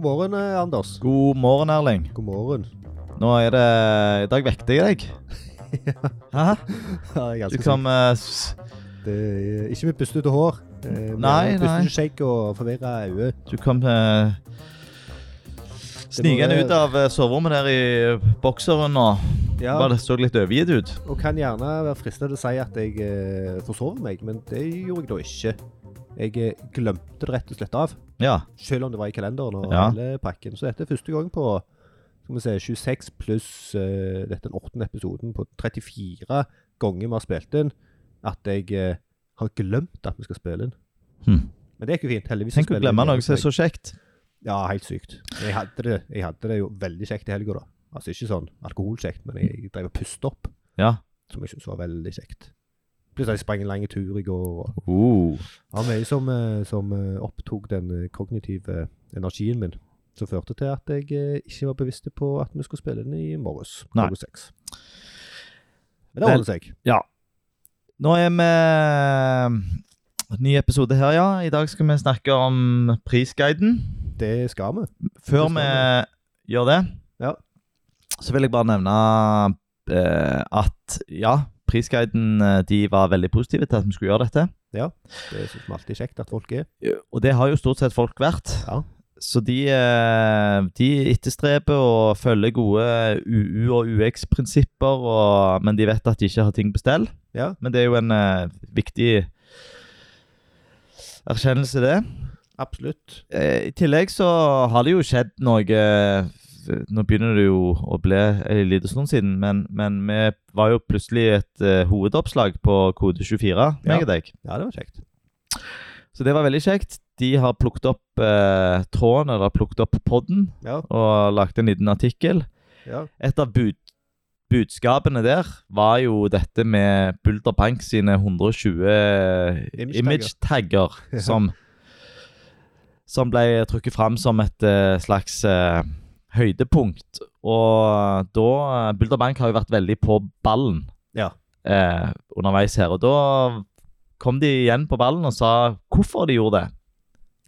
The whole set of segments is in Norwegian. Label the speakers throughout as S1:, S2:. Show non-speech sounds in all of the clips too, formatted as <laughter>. S1: morgen, eh, Anders.
S2: God morgen, Erling.
S1: God morgen.
S2: Nå er det I dag vekket jeg deg.
S1: <laughs> Ja,
S2: Hæ?
S1: jeg er ganske
S2: Liksom eh, s-
S1: sant. Det er ikke med pustete hår. Eh, men
S2: Nei,
S1: pustete
S2: nei.
S1: skjegg og forvirra øyne.
S2: Du kom eh, snikende
S1: være-
S2: ut av eh, soverommet der i bokseren og
S1: Ja.
S2: bare så litt overgitt ut.
S1: Og kan gjerne være fristet til å si at jeg eh, forsov meg, men det gjorde jeg da ikke. Jeg eh, glemte det rett og slett av,
S2: Ja.
S1: selv om det var i kalenderen og
S2: Ja.
S1: hele pakken. Så dette er første gang på skal vi se, 26 pluss eh, dette er den åttende episoden på 34 ganger vi har spilt inn, at jeg eh, har glemt at vi skal spille inn.
S2: Hm.
S1: Men det er ikke fint. Heldigvis
S2: Tenk å
S1: spiller
S2: glemme
S1: jeg
S2: noe
S1: hjemme
S2: som er
S1: hos
S2: så kjekt.
S1: meg. Ja, helt sykt. Men Jeg hadde det, jeg hadde det jo veldig kjekt i helga, da. Altså ikke sånn alkoholkjekt, men jeg, jeg drev og pustet opp
S2: Ja.
S1: som jeg syntes var veldig kjekt. Plutselig sprang en lang tur i går. Og
S2: Uh.
S1: det var mye som, eh, som eh, opptok den eh, kognitive energien min, som førte til at jeg eh, ikke var bevisst på at vi skulle spille den i morges.
S2: Nei.
S1: klokka seks. Men det
S2: Vel-
S1: ordnet seg.
S2: Nå er vi Ny episode her, ja. I dag skal vi snakke om prisguiden.
S1: Det skal vi.
S2: Før
S1: Det
S2: vi
S1: stemmer.
S2: gjør det,
S1: Ja.
S2: så vil jeg bare nevne eh, at ja, prisguiden eh, de var veldig positive til at vi skulle gjøre dette.
S1: Det syns vi alltid er kjekt at folk er.
S2: Og det har jo stort sett folk vært.
S1: Ja.
S2: Så de, eh, de etterstreber og følger gode UU- og UX-prinsipper, og- men de vet at de ikke har ting på stell.
S1: Ja.
S2: Men det er jo en eh, viktig erkjennelse, det.
S1: Absolutt.
S2: Eh, I tillegg så har det jo skjedd noe eh, Nå begynner det jo å bli en liten stund siden, men, men vi var jo plutselig et eh, hovedoppslag på kode 24,
S1: Ja.
S2: meg og deg.
S1: Ja, det var kjekt.
S2: Så det var veldig kjekt. De har plukket opp eh, tråden, eller plukket opp podden,
S1: Ja.
S2: og lagt en liten artikkel.
S1: ja.
S2: Et av bud budskapene der var jo dette med Bulder Bank sine 120
S1: Image-tagger.
S2: image-tagger som, som ble trukket fram som et eh, slags eh, høydepunkt. Og da Bulder Bank har jo vært veldig på ballen
S1: Ja.
S2: eh, underveis her. Og da kom de igjen på ballen og sa hvorfor de gjorde det.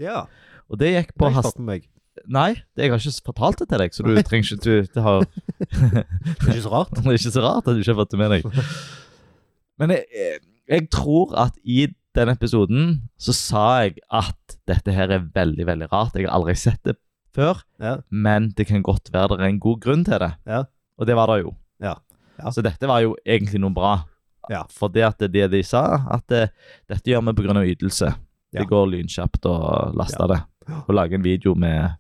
S1: ja.
S2: Og det gikk
S1: Det
S2: på
S1: har jeg
S2: hast...
S1: fått med meg.
S2: Nei, det- jeg har ikke fortalt det til deg, så du trenger ikke du, det har
S1: Det er ikke så rart.
S2: <laughs> det er ikke så rart at du ikke har fått det med deg. Men jeg, jeg- jeg tror at i den episoden så sa jeg at dette her er veldig, veldig rart. Jeg har aldri sett det før,
S1: Ja.
S2: men det kan godt være det er en god grunn til det.
S1: Ja.
S2: Og det var det jo.
S1: Ja. Ja.
S2: Så dette var jo egentlig noe bra.
S1: Ja.
S2: For det at det, det de sa, at eh, dette gjør vi pga. ytelse.
S1: Ja.
S2: Det går lynkjapt å laste
S1: Ja.
S2: det og lage en video med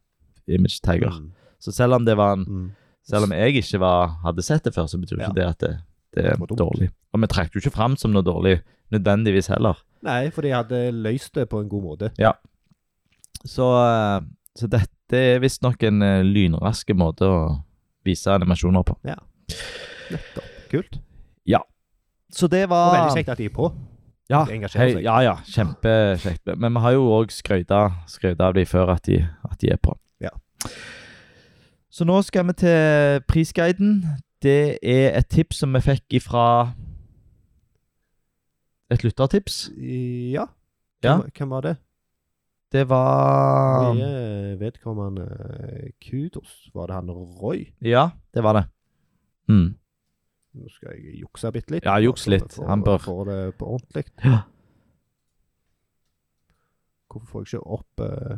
S2: image tagger.
S1: Mm.
S2: Så selv om det var en
S1: Mm.
S2: selv om jeg ikke var, hadde sett det før, så betyr
S1: Ja.
S2: ikke det at det, det er
S1: Det var dumt.
S2: dårlig. Og vi trakk det jo ikke fram som noe dårlig nødvendigvis heller.
S1: Nei, for de hadde løst det på en god måte.
S2: Så, eh, så dette er visstnok en eh, lynraske måte å vise animasjoner på.
S1: Nettopp. Kult.
S2: Så det
S1: Og
S2: var
S1: veldig kjekt at de er på.
S2: Ja,
S1: de engasjerer
S2: hei,
S1: seg.
S2: ja, ja kjempekjekt. Men vi har jo òg skrøyta skrøyta av de før at de, at de er på.
S1: Ja.
S2: Så nå skal vi til prisguiden. Det er et tips som vi fikk ifra Et lyttertips.
S1: Ja.
S2: Ja. Ah.
S1: Hvem, hvem var det?
S2: Det var
S1: Nye vedkommende eh, Kudos. Var det han Roy?
S2: Ja, det var det. Mm.
S1: Nå skal jeg jukse bitte litt.
S2: Ja,
S1: Bare
S2: juks
S1: så vi
S2: litt.
S1: får-
S2: Han bør.
S1: Får det på ordentlig.
S2: Ja.
S1: Hvorfor får jeg ikke opp eh,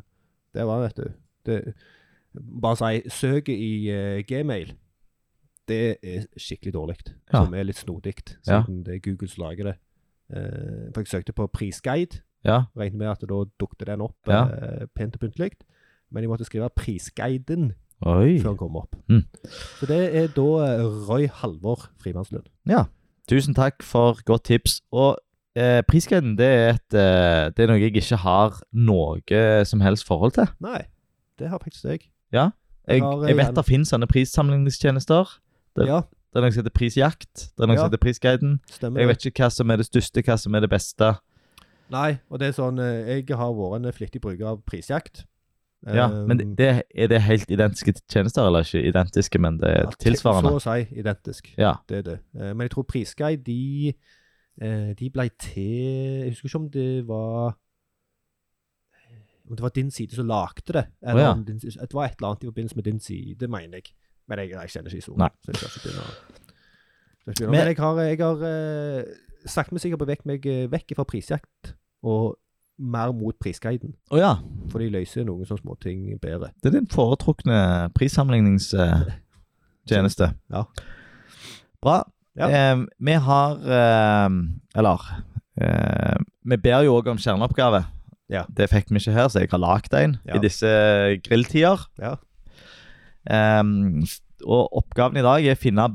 S1: Det var, vet du det, Bare si 'søket i eh, Gmail'. Det er skikkelig dårlig,
S2: Ja.
S1: som er litt snodig,
S2: Ja.
S1: siden det er Google som lager det. Eh, for jeg søkte på prisguide,
S2: Ja.
S1: regnet med at da dukket den opp
S2: Ja.
S1: eh, pent og pyntelig. Men jeg måtte skrive 'prisguiden'
S2: Oi.
S1: før den kom opp.
S2: Mm.
S1: Så det er da eh, Roy Halvor Frimannslund.
S2: Ja. Tusen takk for godt tips. Og eh, prisguiden, det er, et, eh, det er noe jeg ikke har noe som helst forhold til.
S1: Nei, det har faktisk jeg.
S2: Jeg,
S1: har, eh,
S2: jeg
S1: gjerne-
S2: vet det finnes sånne prissamlingstjenester. Det-
S1: Ja,
S2: Det er noe som heter Prisjakt. Det er noe
S1: Ja.
S2: som heter Prisguiden.
S1: stemmer
S2: Jeg
S1: det.
S2: vet ikke hva som er det største, hva som er det beste.
S1: Nei, og det er sånn eh, Jeg har vært en flittig bruker av prisjakt.
S2: Ja, men
S1: Um,
S2: det, Er det helt identiske tjenester, eller ikke identiske, men det er
S1: alt-
S2: tilsvarende?
S1: Så å si identisk.
S2: Ja.
S1: Det er det. Eh, Men jeg tror Prisguide, de eh, De ble til Jeg husker ikke om det var om det var din side som lagde det.
S2: Å,
S1: Eller
S2: ja.
S1: om din, det var et eller annet i forbindelse med din side, mener jeg. Men jeg, jeg kjenner ikke
S2: Nei.
S1: historien. Så jeg skal ikke begynne å skal ikke begynne. å-
S2: Men-
S1: Men jeg har, jeg har eh, sakte, men sikkert beveget meg eh, vekk fra prisjakt og mer mot prisguiden.
S2: Å ja.
S1: For de løser noen sånne småting bedre.
S2: Det er din foretrukne prissammenligningstjeneste.
S1: Ja.
S2: Bra.
S1: Ja.
S2: Eh, vi har eh, Eller eh, Vi ber jo òg om kjerneoppgave.
S1: Ja.
S2: Det fikk vi ikke her, så jeg har lagd en
S1: Ja.
S2: i disse grilltider.
S1: Ja.
S2: Eh, og oppgaven i dag er å finne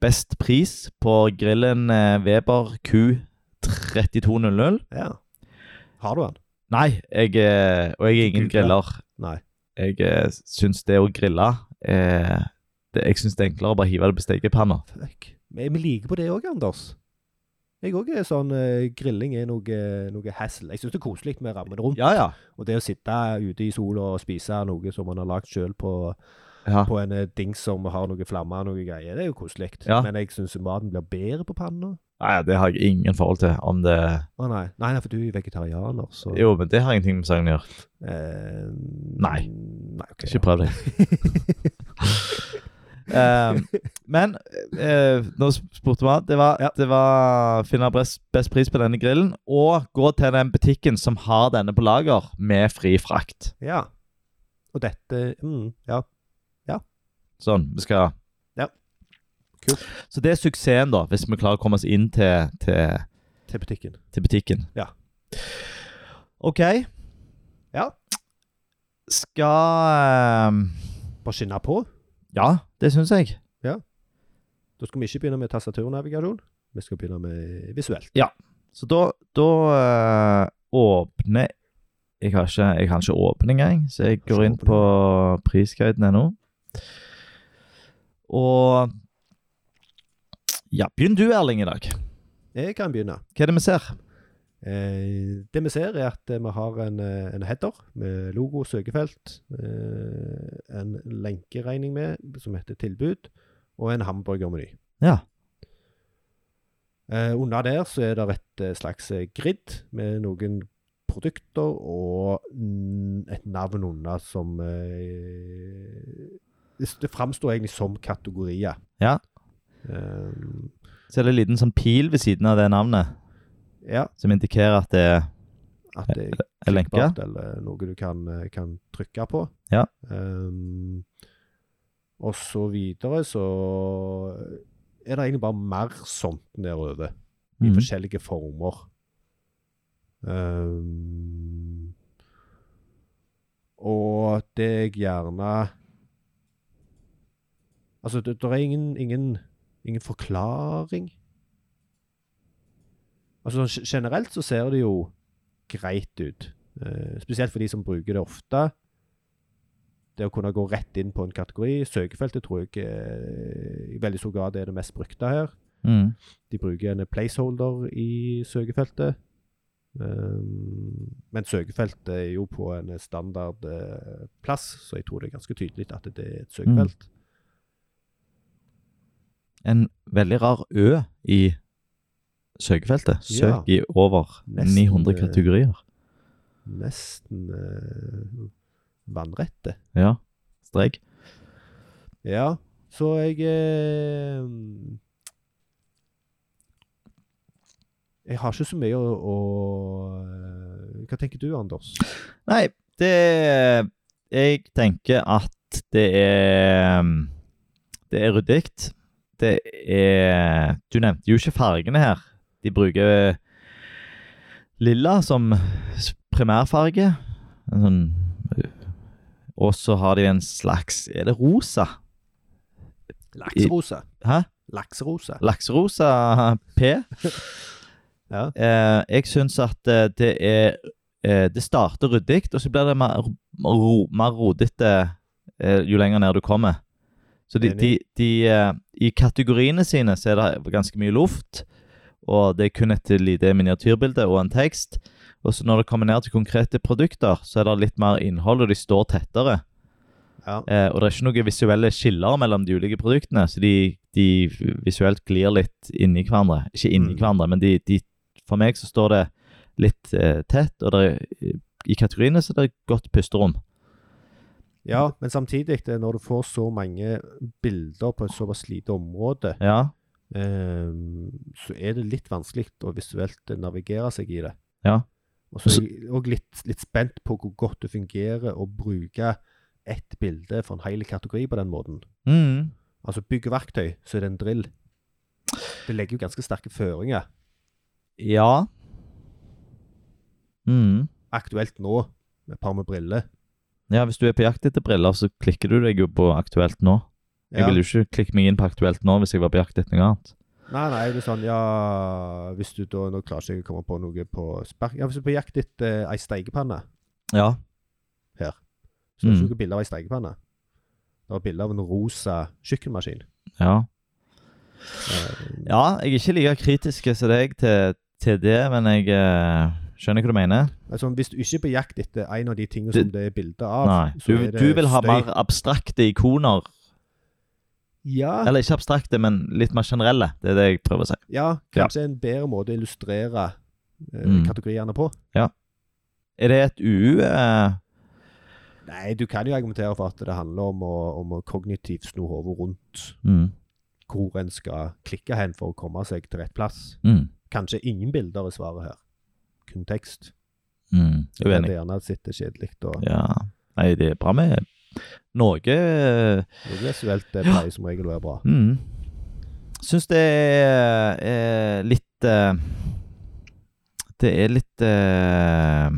S2: best pris på grillen eh, Weber Q3200.
S1: ja. Har du den?
S2: Nei, jeg, eh, og jeg er ingen
S1: Ikke grilla.
S2: griller.
S1: Nei.
S2: Jeg eh, syns det å grille eh, det, Jeg syns det er enklere å bare hive det på stekepanna.
S1: Fuck. Men vi liker på det òg, Anders. Jeg òg er sånn eh, Grilling er noe, noe hassle. Jeg syns det er koselig med rammen rundt.
S2: Ja, ja.
S1: Og det å sitte ute i sola og spise noe som man har lagd sjøl på,
S2: ja.
S1: på en eh, dings som har noe flammer og noe greier, det er jo koselig.
S2: Ja.
S1: Men jeg syns maten blir bedre på panna.
S2: Nei, det har jeg ingen forhold til. Om det
S1: Å nei. nei, nei, for du er jo vegetarianer, så
S2: Jo, men det har ingenting med saken å gjøre.
S1: Eh,
S2: Nei.
S1: nei ok,
S2: Ikke prøv deg. Ehm, men eh, nå spurte vi Det var,
S1: Ja.
S2: det var finne best, best pris på denne grillen, og gå til den butikken som har denne på lager, med fri frakt.
S1: ja. <laughs> ja. Og dette mm, Ja.
S2: Sånn, vi skal
S1: Ja. Kult.
S2: Så det er suksessen, da, hvis vi klarer å komme oss inn til, til,
S1: Til butikken.
S2: til butikken.
S1: Ja.
S2: OK.
S1: Ja.
S2: Skal ehm,
S1: Bare skinne på.
S2: Ja, det syns jeg.
S1: Da skal vi ikke begynne med tastaturnavigasjon. Vi skal begynne med visuelt.
S2: Så da, da eh, åpner jeg har, ikke, jeg kan ikke åpne engang, så jeg
S1: Har
S2: går
S1: ikke
S2: inn på prisguiden.no. Og Ja, begynn du, Erling, i dag.
S1: Jeg kan begynne.
S2: Hva er det vi ser?
S1: Eh, det vi ser, er at eh, vi har en, eh, en header med logo, søkefelt, eh, en lenkeregning med som heter tilbud, og en hamburgermeny.
S2: Ja.
S1: Eh, under der så er det et eh, slags eh, grid med noen produkter og mm, et navn under som eh, det det framstår egentlig som kategorier.
S2: Ja.
S1: Eh,
S2: Så er det en liten sånn pil ved siden av det navnet,
S1: ja,
S2: som indikerer at det er
S1: at det er
S2: en lenke.
S1: klikkbart, eller noe du kan, eh, kan trykke på.
S2: Ja.
S1: Ehm, og så videre så er det egentlig bare mer sånt nedover, i
S2: Mhm.
S1: forskjellige former. Ehm, og det jeg gjerne Altså, det, det er ingen, ingen, ingen forklaring. Altså, sånn ge- generelt så ser det jo greit ut. Eh, spesielt for de som bruker det ofte. Det å kunne gå rett inn på en kategori. Søkefeltet tror jeg eh, i veldig stor grad er det mest brukte her.
S2: Mm.
S1: De bruker en placeholder i søkefeltet. Um, men søkefeltet er jo på en standard eh, plass, så jeg tror det er ganske tydelig at det er et søkefelt.
S2: En veldig rar Ø i søkefeltet. Søk i over
S1: Nesten,
S2: 900
S1: eh,
S2: kategorier.
S1: Nesten eh, vannrette.
S2: Ja. Strek.
S1: Ja, så jeg eh, Jeg har ikke så mye å, å eh, Hva tenker du, Anders?
S2: Nei, det Jeg tenker at det er Det er ryddig. Det er Du nevnte jo ikke fargene her. De bruker lilla som s- primærfarge. En sånn Og så har de en slags Er det rosa?
S1: Lakserose.
S2: Hæ?
S1: Lakserose.
S2: Lakserosa <laughs> P.
S1: <laughs> Ja.
S2: Eh, jeg syns at eh, det er eh, Det starter ryddig, og så blir det mer, ro, mer rodete eh, jo lenger ned du kommer. Så de, de,
S1: Enig.
S2: de eh, I kategoriene sine så er det ganske mye luft, og det er kun et lite miniatyrbilde og en tekst. Og så når det kommer ned til konkrete produkter, så er det litt mer innhold, og de står tettere.
S1: ja.
S2: Eh, og det er ikke noen visuelle skiller mellom de ulike produktene, så de, de visuelt glir litt inni hverandre. Ikke inni
S1: Mm.
S2: hverandre, men de, de, for meg så står det litt eh, tett, og det er i kategoriene, så det er godt pusterom.
S1: Ja, men samtidig, det, er når du får så mange bilder på et såpass lite område,
S2: Ja.
S1: eh, så er det litt vanskelig å visuelt navigere seg i det.
S2: Ja.
S1: Og så er jeg òg litt, litt spent på hvor godt det fungerer å bruke ett bilde for en hel kategori på den måten.
S2: Mm.
S1: Altså byggeverktøy, så er det en drill. Det legger jo ganske sterke føringer.
S2: Ja. Mm.
S1: Aktuelt nå, med et par med briller.
S2: Ja, hvis du er på jakt etter briller, så klikker du deg jo på aktuelt nå. Jeg
S1: Ja.
S2: ville jo ikke klikke meg inn på aktuelt nå hvis jeg var på jakt etter noe annet.
S1: Nei, nei, det er sånn, ja Hvis du da Nå klarer ikke jeg å komme på noe på spark... Ja, hvis du er på jakt etter ei steikepanne,
S2: Ja.
S1: så er det
S2: Mm.
S1: ikke noe bilde av ei steikepanne. Det var bilde av en rosa kjøkkenmaskin.
S2: Ja.
S1: Eh,
S2: ja, jeg er ikke like kritisk som deg til, til det, men jeg eh, skjønner hva du mener.
S1: altså, hvis du ikke er på jakt etter en av de tingene som det er bilde av,
S2: Nei.
S1: så
S2: Du,
S1: er det
S2: du vil ha
S1: støy.
S2: mer abstrakte ikoner.
S1: Ja,
S2: Eller ikke abstrakte, men litt mer generelle. Det er det jeg prøver å si.
S1: ja kanskje en bedre måte å illustrere eh,
S2: Mm.
S1: kategoriene på.
S2: Er det et UU? eh,
S1: Nei, du kan jo argumentere for at det handler om å, om å kognitivt sno hodet rundt
S2: mm.
S1: hvor en skal klikke hen for å komme seg til rett plass.
S2: Mm.
S1: Kanskje ingen bilder er svaret her. Kun tekst.
S2: Mm.
S1: Kan
S2: Uenig.
S1: det gjerne sitte kjedelig og
S2: Ja. Nei, det er bra med noe eh,
S1: noe visuelt. Det pleier som regel å være bra.
S2: Mm. Syns det er, er litt eh, Det er litt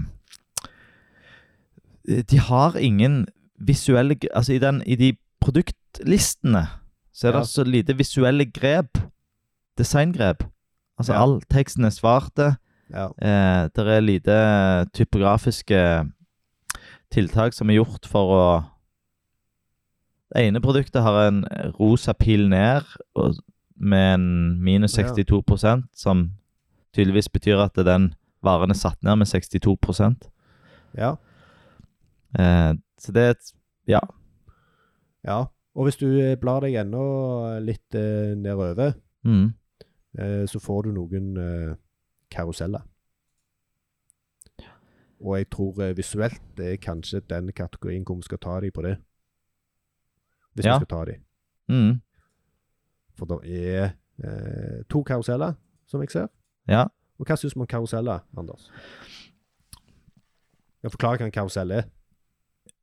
S2: eh, De har ingen visuelle gre- Altså, i, den, i de produktlistene så er
S1: Ja.
S2: det så lite visuelle grep. Designgrep. Altså,
S1: Ja.
S2: all teksten er svarte.
S1: Ja.
S2: Eh, det er lite typografiske tiltak som er gjort for å Det ene produktet har en rosa pil ned og, med en minus
S1: Ja.
S2: 62 som tydeligvis betyr at den varen er satt ned med 62
S1: ja.
S2: eh, Så det er et
S1: ja. Og hvis du eh, blar deg ennå litt eh, nedover,
S2: mm,
S1: eh, så får du noen eh, karuseller. Og jeg tror eh, visuelt det er kanskje den kategorien hvor vi skal ta de på det. Hvis
S2: Ja.
S1: vi skal ta de.
S2: mm,
S1: For det er eh, to karuseller, som jeg ser.
S2: Ja.
S1: Og hva syns du om karuseller, Anders? Jeg forklarer hva en karusell er,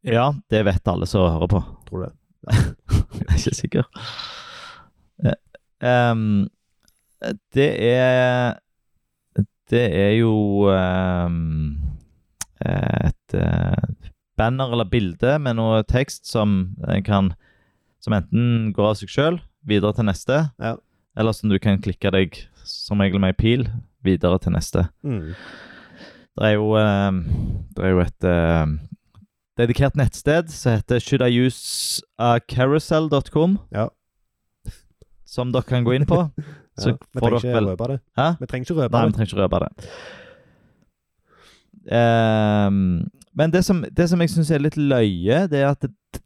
S2: Ja, det vet alle som hører på.
S1: tror du.
S2: <laughs> Jeg er ikke sikker. Eh, ehm, det er Det er jo ehm, et eh, banner eller bilde med noe tekst som en kan Som enten går av seg sjøl videre til neste,
S1: Ja.
S2: eller som du kan klikke deg som regel med ei pil videre til neste.
S1: Mm.
S2: Det er jo, eh, det er jo et eh, dedikert nettsted som heter shouldiuseacarousel.com.
S1: Ja.
S2: Som dere kan gå
S1: <laughs>
S2: inn på. Så
S1: ja. Vi
S2: får
S1: trenger
S2: dere
S1: ikke
S2: vel
S1: røpe det.
S2: Hæ?
S1: Vi trenger ikke røpe
S2: Nei, vi
S1: det.
S2: trenger ikke røpe det. Ehm, men det som, det som jeg syns er litt løye, det er at det,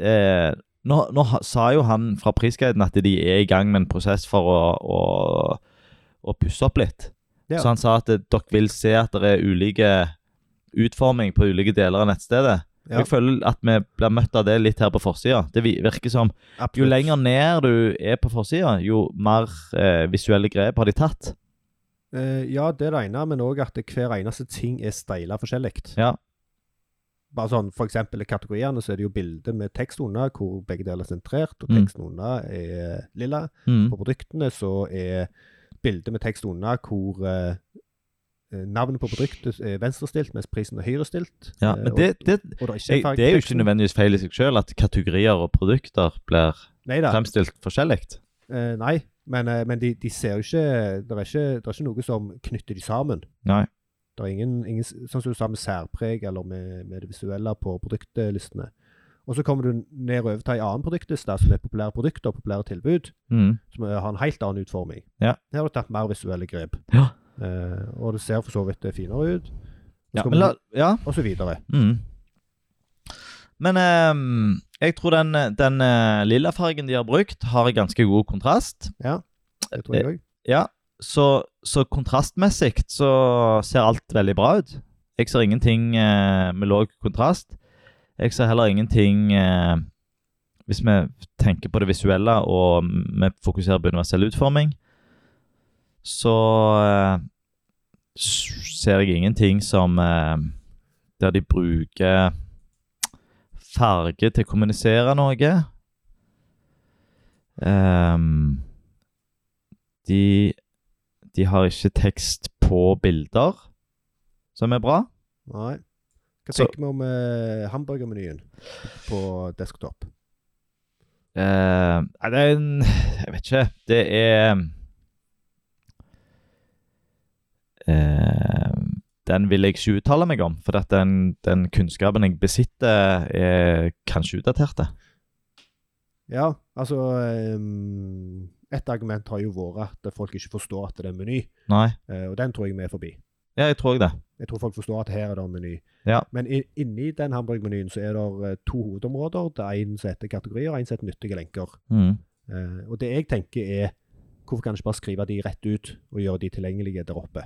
S2: eh, nå, nå ha- sa jo han fra Prisguiden at de er i gang med en prosess for å, å, å pusse opp litt.
S1: Ja.
S2: Så han sa at eh, dere vil se at det er ulike utforming på ulike deler av nettstedet.
S1: Ja.
S2: Jeg føler at vi blir møtt av det litt her på forsida. Det vi- virker som jo
S1: Absolutt.
S2: lenger ned du er på forsida, jo mer eh, visuelle grep har de tatt.
S1: Eh, ja, det er det ene, men òg at det- hver eneste ting er styla forskjellig.
S2: Ja.
S1: Bare sånn, for eksempel i kategoriene så er det jo bilder med tekst under, hvor begge deler er sentrert, og
S2: Mm.
S1: teksten under er lilla.
S2: Mm.
S1: På produktene så er bildet med tekst under hvor eh, navnet på produktet er venstrestilt, mens prisen er høyrestilt.
S2: Ja,
S1: Eh,
S2: men det, det,
S1: og, og det er ikke
S2: jeg, det er jo ikke
S1: fargeteksten.
S2: nødvendigvis feil i seg sjøl at kategorier og produkter blir
S1: Neida.
S2: fremstilt forskjellig.
S1: Eh, nei, men, eh, men de, de ser jo ikke det, er ikke det er ikke noe som knytter de sammen.
S2: Nei.
S1: Det er ingen, ingen s- sånn som du sa, med særpreg eller med, med det visuelle på produktlistene. Og så kommer du nedover til en annen produktliste som er populære produkter og populære tilbud,
S2: Mm.
S1: som eh, har en helt annen utforming.
S2: Ja.
S1: Her har du tatt mer visuelle grep.
S2: Ja.
S1: Eh, og det ser for så vidt finere ut,
S2: Ja,
S1: skal
S2: men
S1: vi-
S2: la, ja.
S1: og så videre.
S2: Mm. Men ehm, jeg tror den, den eh, lilla fargen de har brukt, har ganske god kontrast.
S1: Det
S2: Eh,
S1: tror jeg òg.
S2: Så, så kontrastmessig så ser alt veldig bra ut. Jeg ser ingenting eh, med lav kontrast. Jeg ser heller ingenting eh, Hvis vi tenker på det visuelle og vi fokuserer på universell utforming, så eh, s- ser jeg ingenting som eh, Der de bruker farge til å kommunisere noe. Ehm, de, de har ikke tekst på bilder, som er bra.
S1: Nei. Hva
S2: Så-
S1: tenker vi om eh, hamburgermenyen på desktop?
S2: Eh, Nei, det er en Jeg vet ikke. Det er eh, Den vil jeg ikke uttale meg om, for at den, den kunnskapen jeg besitter, er kanskje utdatert. det.
S1: Ja, altså um, Et argument har jo vært at folk ikke forstår at det er en meny,
S2: Nei.
S1: eh, og den tror jeg vi er forbi.
S2: Ja, jeg tror det.
S1: Jeg tror folk forstår at her er det en meny.
S2: Ja.
S1: Men i, inni den hamburgermenyen så er det eh, to hovedområder. Det er en som heter kategorier, og en som heter nyttige lenker.
S2: Mm.
S1: Eh, og det jeg tenker er Hvorfor kan en ikke bare skrive de rett ut og gjøre de tilgjengelige der oppe?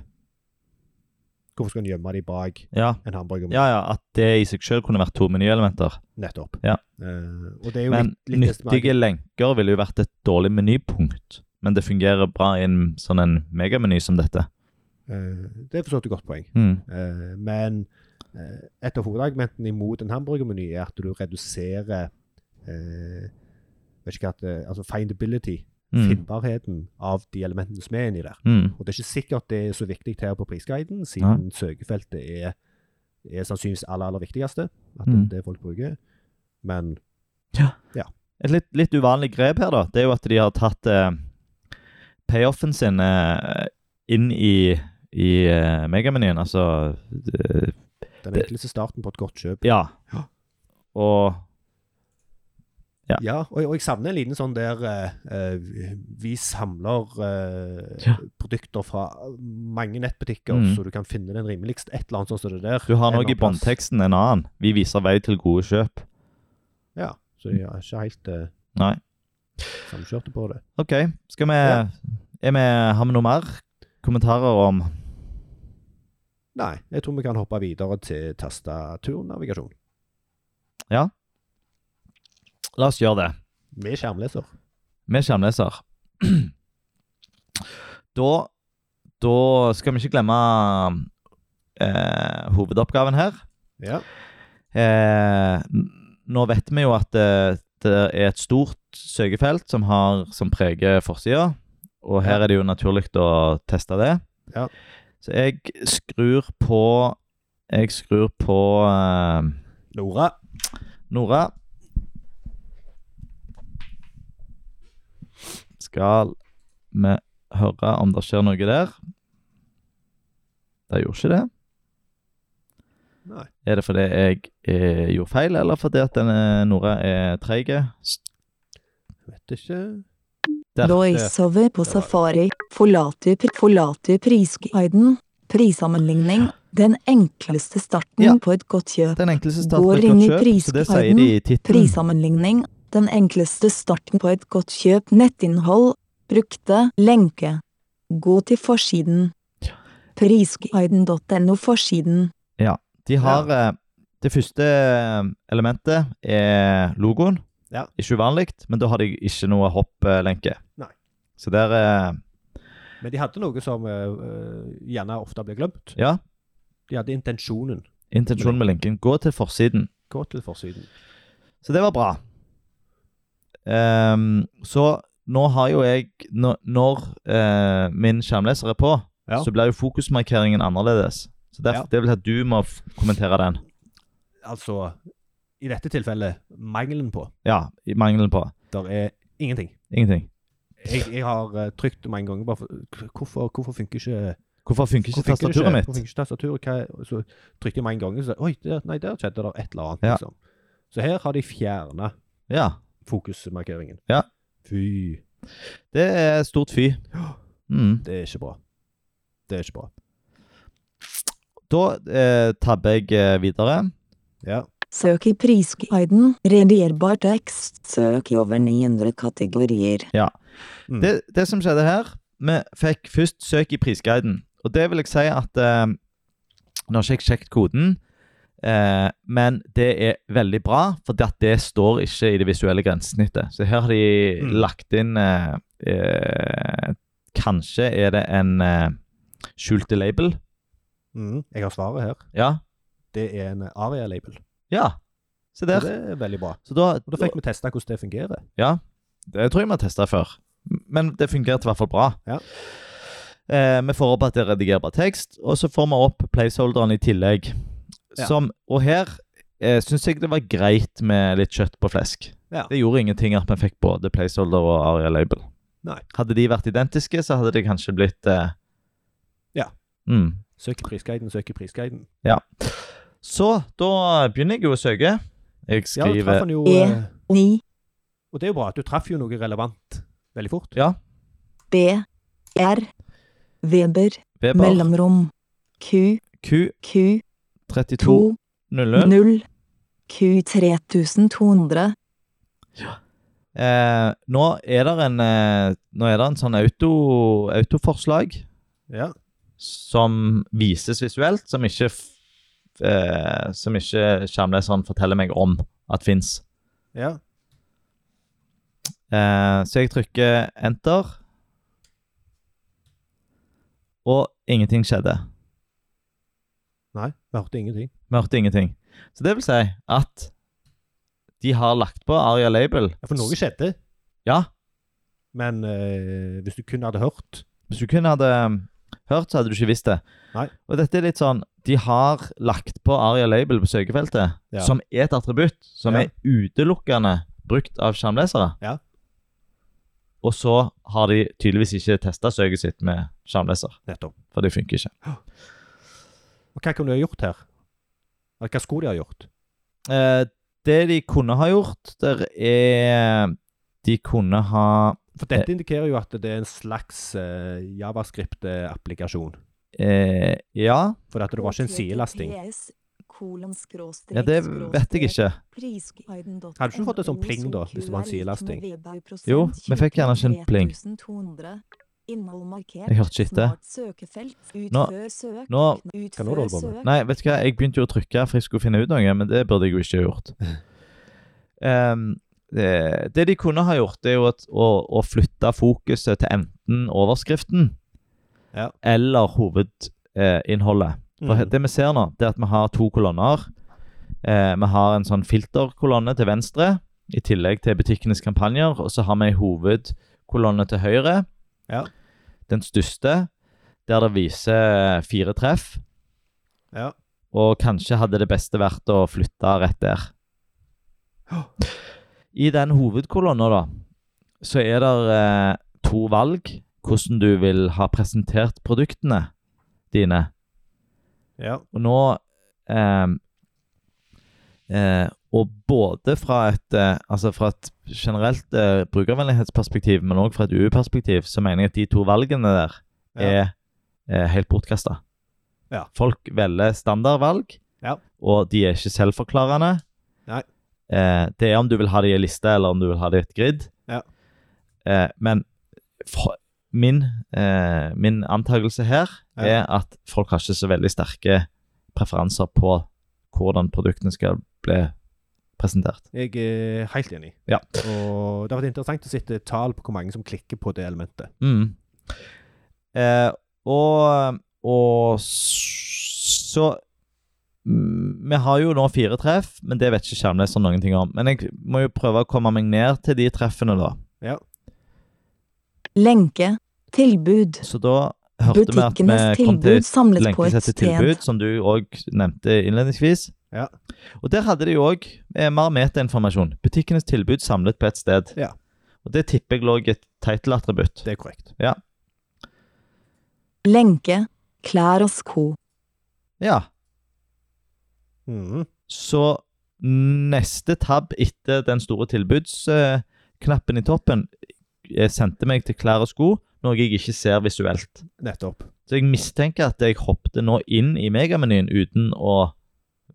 S1: Hvorfor skal en gjemme de bak
S2: Ja.
S1: en hamburgermeny?
S2: ja, ja. At det i seg sjøl kunne vært to menyelementer.
S1: Nettopp.
S2: Ja.
S1: Eh, og det er jo
S2: Men
S1: litt, litt neste
S2: nyttige lenker ville jo vært et dårlig menypunkt. Men det fungerer bra i en sånn en megameny som dette.
S1: marked. Eh, det er for så vidt et godt poeng.
S2: Mm.
S1: Eh, men eh, et av hovedargumentene imot en hamburgermeny er at du reduserer eh, vet ikke hva, at, eh, altså findability,
S2: Mm.
S1: finnbarheten, av de elementene som er inni der.
S2: Mm.
S1: Og det er ikke sikkert det er så viktig her på prisguiden, siden søkefeltet er, er sannsynligvis aller, aller viktigste. At det
S2: Mm.
S1: er det folk bruker. Men
S2: Et litt, litt uvanlig grep her, da, det er jo at de har tatt eh, payoffen sin eh, inn i, i eh, megamenyen. Altså eh,
S1: den
S2: Det-
S1: enkleste starten på et godt kjøp
S2: Ja.
S1: Ja.
S2: Og Ja.
S1: Ja, og, og jeg savner en liten sånn der eh, eh, Vi samler eh,
S2: Ja.
S1: produkter fra mange nettbutikker,
S2: Mm.
S1: så du kan finne den rimeligst. Et eller annet sånt som det der.
S2: du har
S1: En
S2: noe
S1: eller
S2: i
S1: annen plass.
S2: båndteksten en annen. Vi viser vei til gode kjøp.
S1: Ja, så de er ikke helt eh,
S2: Nei.
S1: samkjørte på det.
S2: OK, skal vi,
S1: Ja.
S2: er vi Har vi noe mer kommentarer om
S1: Nei, jeg tror vi kan hoppe videre til tastaturnavigasjon
S2: La oss gjøre det.
S1: med skjermleser.
S2: med skjermleser. <clears throat> da, da skal vi ikke glemme eh, hovedoppgaven her.
S1: Ja.
S2: Eh, n- nå vet vi jo at eh, det er et stort søkefelt som, har, som preger forsida, og her
S1: Ja.
S2: er det jo naturlig å teste det.
S1: Ja.
S2: Så jeg skrur på Jeg skrur på eh,
S1: Nora.
S2: Nora Skal vi høre om det skjer noe der? Det gjorde ikke det.
S1: Nei.
S2: Er det fordi jeg eh, gjorde feil, eller fordi at denne Nora er treig? Der.
S1: Vet ikke.
S3: Voiceover på safari. Forlater, pri- forlater prisguiden. Prissammenligning. Den enkleste starten
S2: Ja.
S3: på et godt kjøp.
S2: Den enkleste
S3: Går
S2: starten
S3: inn i
S2: på et godt kjøp, så det sier de i tittelen.
S3: Prissammenligning. Den enkleste starten på et godt kjøp. Nettinnhold. Brukte. Lenke. Gå til forsiden. Prisguiden.no forsiden.
S2: De har eh, Det første eh, elementet er logoen.
S1: Ja.
S2: Ikke uvanlig, men da har de ikke noe hopplenke.
S1: Nei.
S2: Så der eh,
S1: Men de hadde noe som eh, eh, gjerne ofte blir glemt.
S2: Ja.
S1: De hadde intensjonen.
S2: Intensjonen med linken. Gå til forsiden.
S1: Gå til forsiden.
S2: Så det var bra. Ehm, så nå har jo jeg Når, når eh, min skjermleser er på,
S1: Ja.
S2: så blir jo fokusmarkeringen annerledes. Så derf,
S1: Ja.
S2: Det vil si at du må f kommentere den.
S1: Altså, i dette tilfellet, mangelen på.
S2: Ja, i mangelen på.
S1: Der er ingenting.
S2: Ingenting.
S1: Jeg, jeg har eh, trykt mange ganger bare for, hvorfor, hvorfor funker ikke
S2: Hvorfor funker
S1: hvorfor
S2: ikke
S1: funker det ikke?
S2: tastaturet
S1: Hvorfor
S2: mitt?
S1: funker ikke tastaturet? Hva, er- så trykte jeg mange ganger, så Oi, der, nei, der skjedde det et eller annet.
S2: Ja.
S1: Liksom. Så her har de fjerna
S2: Ja.
S1: fokusmarkeringen.
S2: Ja.
S1: Fy,
S2: Det er stort fy. Mm.
S1: det er ikke bra. Det er ikke bra.
S2: Da eh, tabber jeg eh, videre.
S1: Mm. Ja.
S3: Søk i prisguiden. Redierbar tekst. Søk i over 900 kategorier.
S1: Mm.
S2: Det, det som skjedde her Vi fikk først søk i prisguiden. Og det vil jeg si at eh, Nå har ikke jeg sjekket koden, eh, men det er veldig bra, for det, at det står ikke i det visuelle grensesnittet. Så her har de
S1: Mm.
S2: lagt inn eh, eh, Kanskje er det en eh, skjulte label?
S1: Mm. Jeg har svaret her.
S2: Ja.
S1: Det er en Aria-label.
S2: Ja. Se
S1: Så
S2: der.
S1: Det er veldig bra.
S2: Så da,
S1: Og Da fikk vi testa hvordan det fungerer.
S2: Det tror jeg vi har testa før. Men det fungerte i hvert fall bra.
S1: Ja.
S2: Eh, vi får opp at det er redigerbar tekst, og så får vi opp placeholderen i tillegg.
S1: Ja.
S2: Som, og her eh, syns jeg det var greit med litt kjøtt på flesk.
S1: Ja.
S2: Det gjorde ingenting at vi fikk både placeholder og aria label.
S1: Nei.
S2: Hadde de vært identiske, så hadde det kanskje blitt eh,
S1: Ja.
S2: Mm.
S1: Søk i prisguiden, søk i prisguiden.
S2: Så da begynner jeg jo å søke. Jeg
S1: Ja, du traff
S2: skriver
S1: han jo,
S3: E.
S1: eh,
S3: 9,
S1: og det er jo bra at du traff jo noe relevant veldig fort.
S2: Ja,
S3: B, R, Weber,
S2: Weber
S3: mellomrom, Q, Q,
S2: Q3200.
S3: 2, 0, Q, 3200,
S2: Eh, nå er det en, eh, nå er det en sånn auto, autoforslag
S1: Ja.
S2: som vises visuelt, som ikke, f- eh, som ikke skjermleseren forteller meg om at fins.
S1: ja.
S2: Eh, så jeg trykker enter, og ingenting skjedde.
S1: Nei, vi hørte ingenting.
S2: Vi hørte ingenting. Så det vil si at de har lagt på Aria Label.
S1: Ja, For noe skjedde,
S2: Ja,
S1: men eh, hvis du kun hadde hørt
S2: Hvis du kun hadde um, hørt, så hadde du ikke visst det.
S1: Nei.
S2: Og dette er litt sånn De har lagt på Aria Label på søkefeltet,
S1: Ja.
S2: som er et attributt som
S1: Ja.
S2: er utelukkende brukt av skjermlesere.
S1: Ja.
S2: Og så har de tydeligvis ikke testa søket sitt med skjermleser,
S1: nettopp
S2: for det funker ikke.
S1: Og Hva kunne du ha gjort her? Eller hva skulle de ha gjort?
S2: Eh, det de kunne ha gjort, der er De kunne ha
S1: For dette
S2: Eh.
S1: indikerer jo at det er en slags eh, javascript-applikasjon.
S2: eh, Ja,
S1: For at det var ikke en sidelasting.
S2: ja, det vet jeg ikke.
S3: Hadde du ikke fått et
S2: sånn
S3: sånt pling, da, hvis det var en sidelasting?
S2: Jo, vi fikk gjerne ikke en pling.
S3: Jeg
S2: Jeg hørte ikke etter. Nå- Nå
S1: Hva nå, Dolbo?
S2: Nei, vet du hva, jeg begynte jo å trykke for jeg skulle finne ut noe, men det burde jeg jo ikke ha gjort. Ehm, det, det de kunne ha gjort, det er jo at, å, å flytte fokuset til enten overskriften
S1: Ja.
S2: eller eh, hovedinnholdet. For
S1: Mhm.
S2: Det vi ser nå, det er at vi har to kolonner. Eh, vi har en sånn filterkolonne til venstre, i tillegg til butikkenes kampanjer. Og så har vi en hovedkolonne til høyre.
S1: Ja.
S2: Den største, der det viser fire treff.
S1: Ja.
S2: Og kanskje hadde det beste vært å flytte rett der. I den hovedkolonna, da, så er det eh, to valg. Hvordan du vil ha presentert produktene dine.
S1: Mm. ja.
S2: Og nå eh, eh, Og både fra et, eh, altså fra et generelt eh, brukervennlighetsperspektiv, men òg fra et UE-perspektiv, så mener jeg at de to valgene der
S1: Ja.
S2: er eh, helt bortkasta.
S1: Ja.
S2: Folk velger standardvalg,
S1: Ja.
S2: og de er ikke selvforklarende.
S1: Nei.
S2: Eh, det er om du vil ha det i en liste, eller om du vil ha det i et grid.
S1: Ja.
S2: Eh, men fra- min, eh, min antakelse her
S1: Ja.
S2: er at folk har ikke så veldig sterke preferanser på hvordan produktene skal bli presentert.
S1: Jeg er helt enig.
S2: Ja.
S1: Og det har vært interessant å sitte tall på hvor mange som klikker på det elementet.
S2: Mm. Eh, og, og s- så mm, Vi har jo nå fire treff, men det vet ikke skjermleseren noen ting om. Men jeg må jo prøve å komme meg ned til de treffene, da.
S3: Lenke. Tilbud.
S2: Så da hørte vi at vi
S3: Butikkenes
S2: kom til
S3: tilbud samlet på et
S2: lenkesett til
S3: sted.
S2: tilbud, som du òg nevnte innledningsvis.
S1: Ja.
S2: Og der hadde de òg mer metainformasjon. Butikkenes tilbud samlet på ett sted.
S1: Ja.
S2: Og det tipper jeg lå i et tittelattributt.
S1: Det er korrekt.
S3: Lenke. Klær og sko.
S2: Ja.
S1: Mhm.
S2: Så neste tab etter den store tilbudsknappen i toppen eh, sendte meg til klær og sko, noe jeg ikke ser visuelt.
S1: Nettopp.
S2: Så jeg mistenker at jeg hoppet nå inn i megamenyen uten å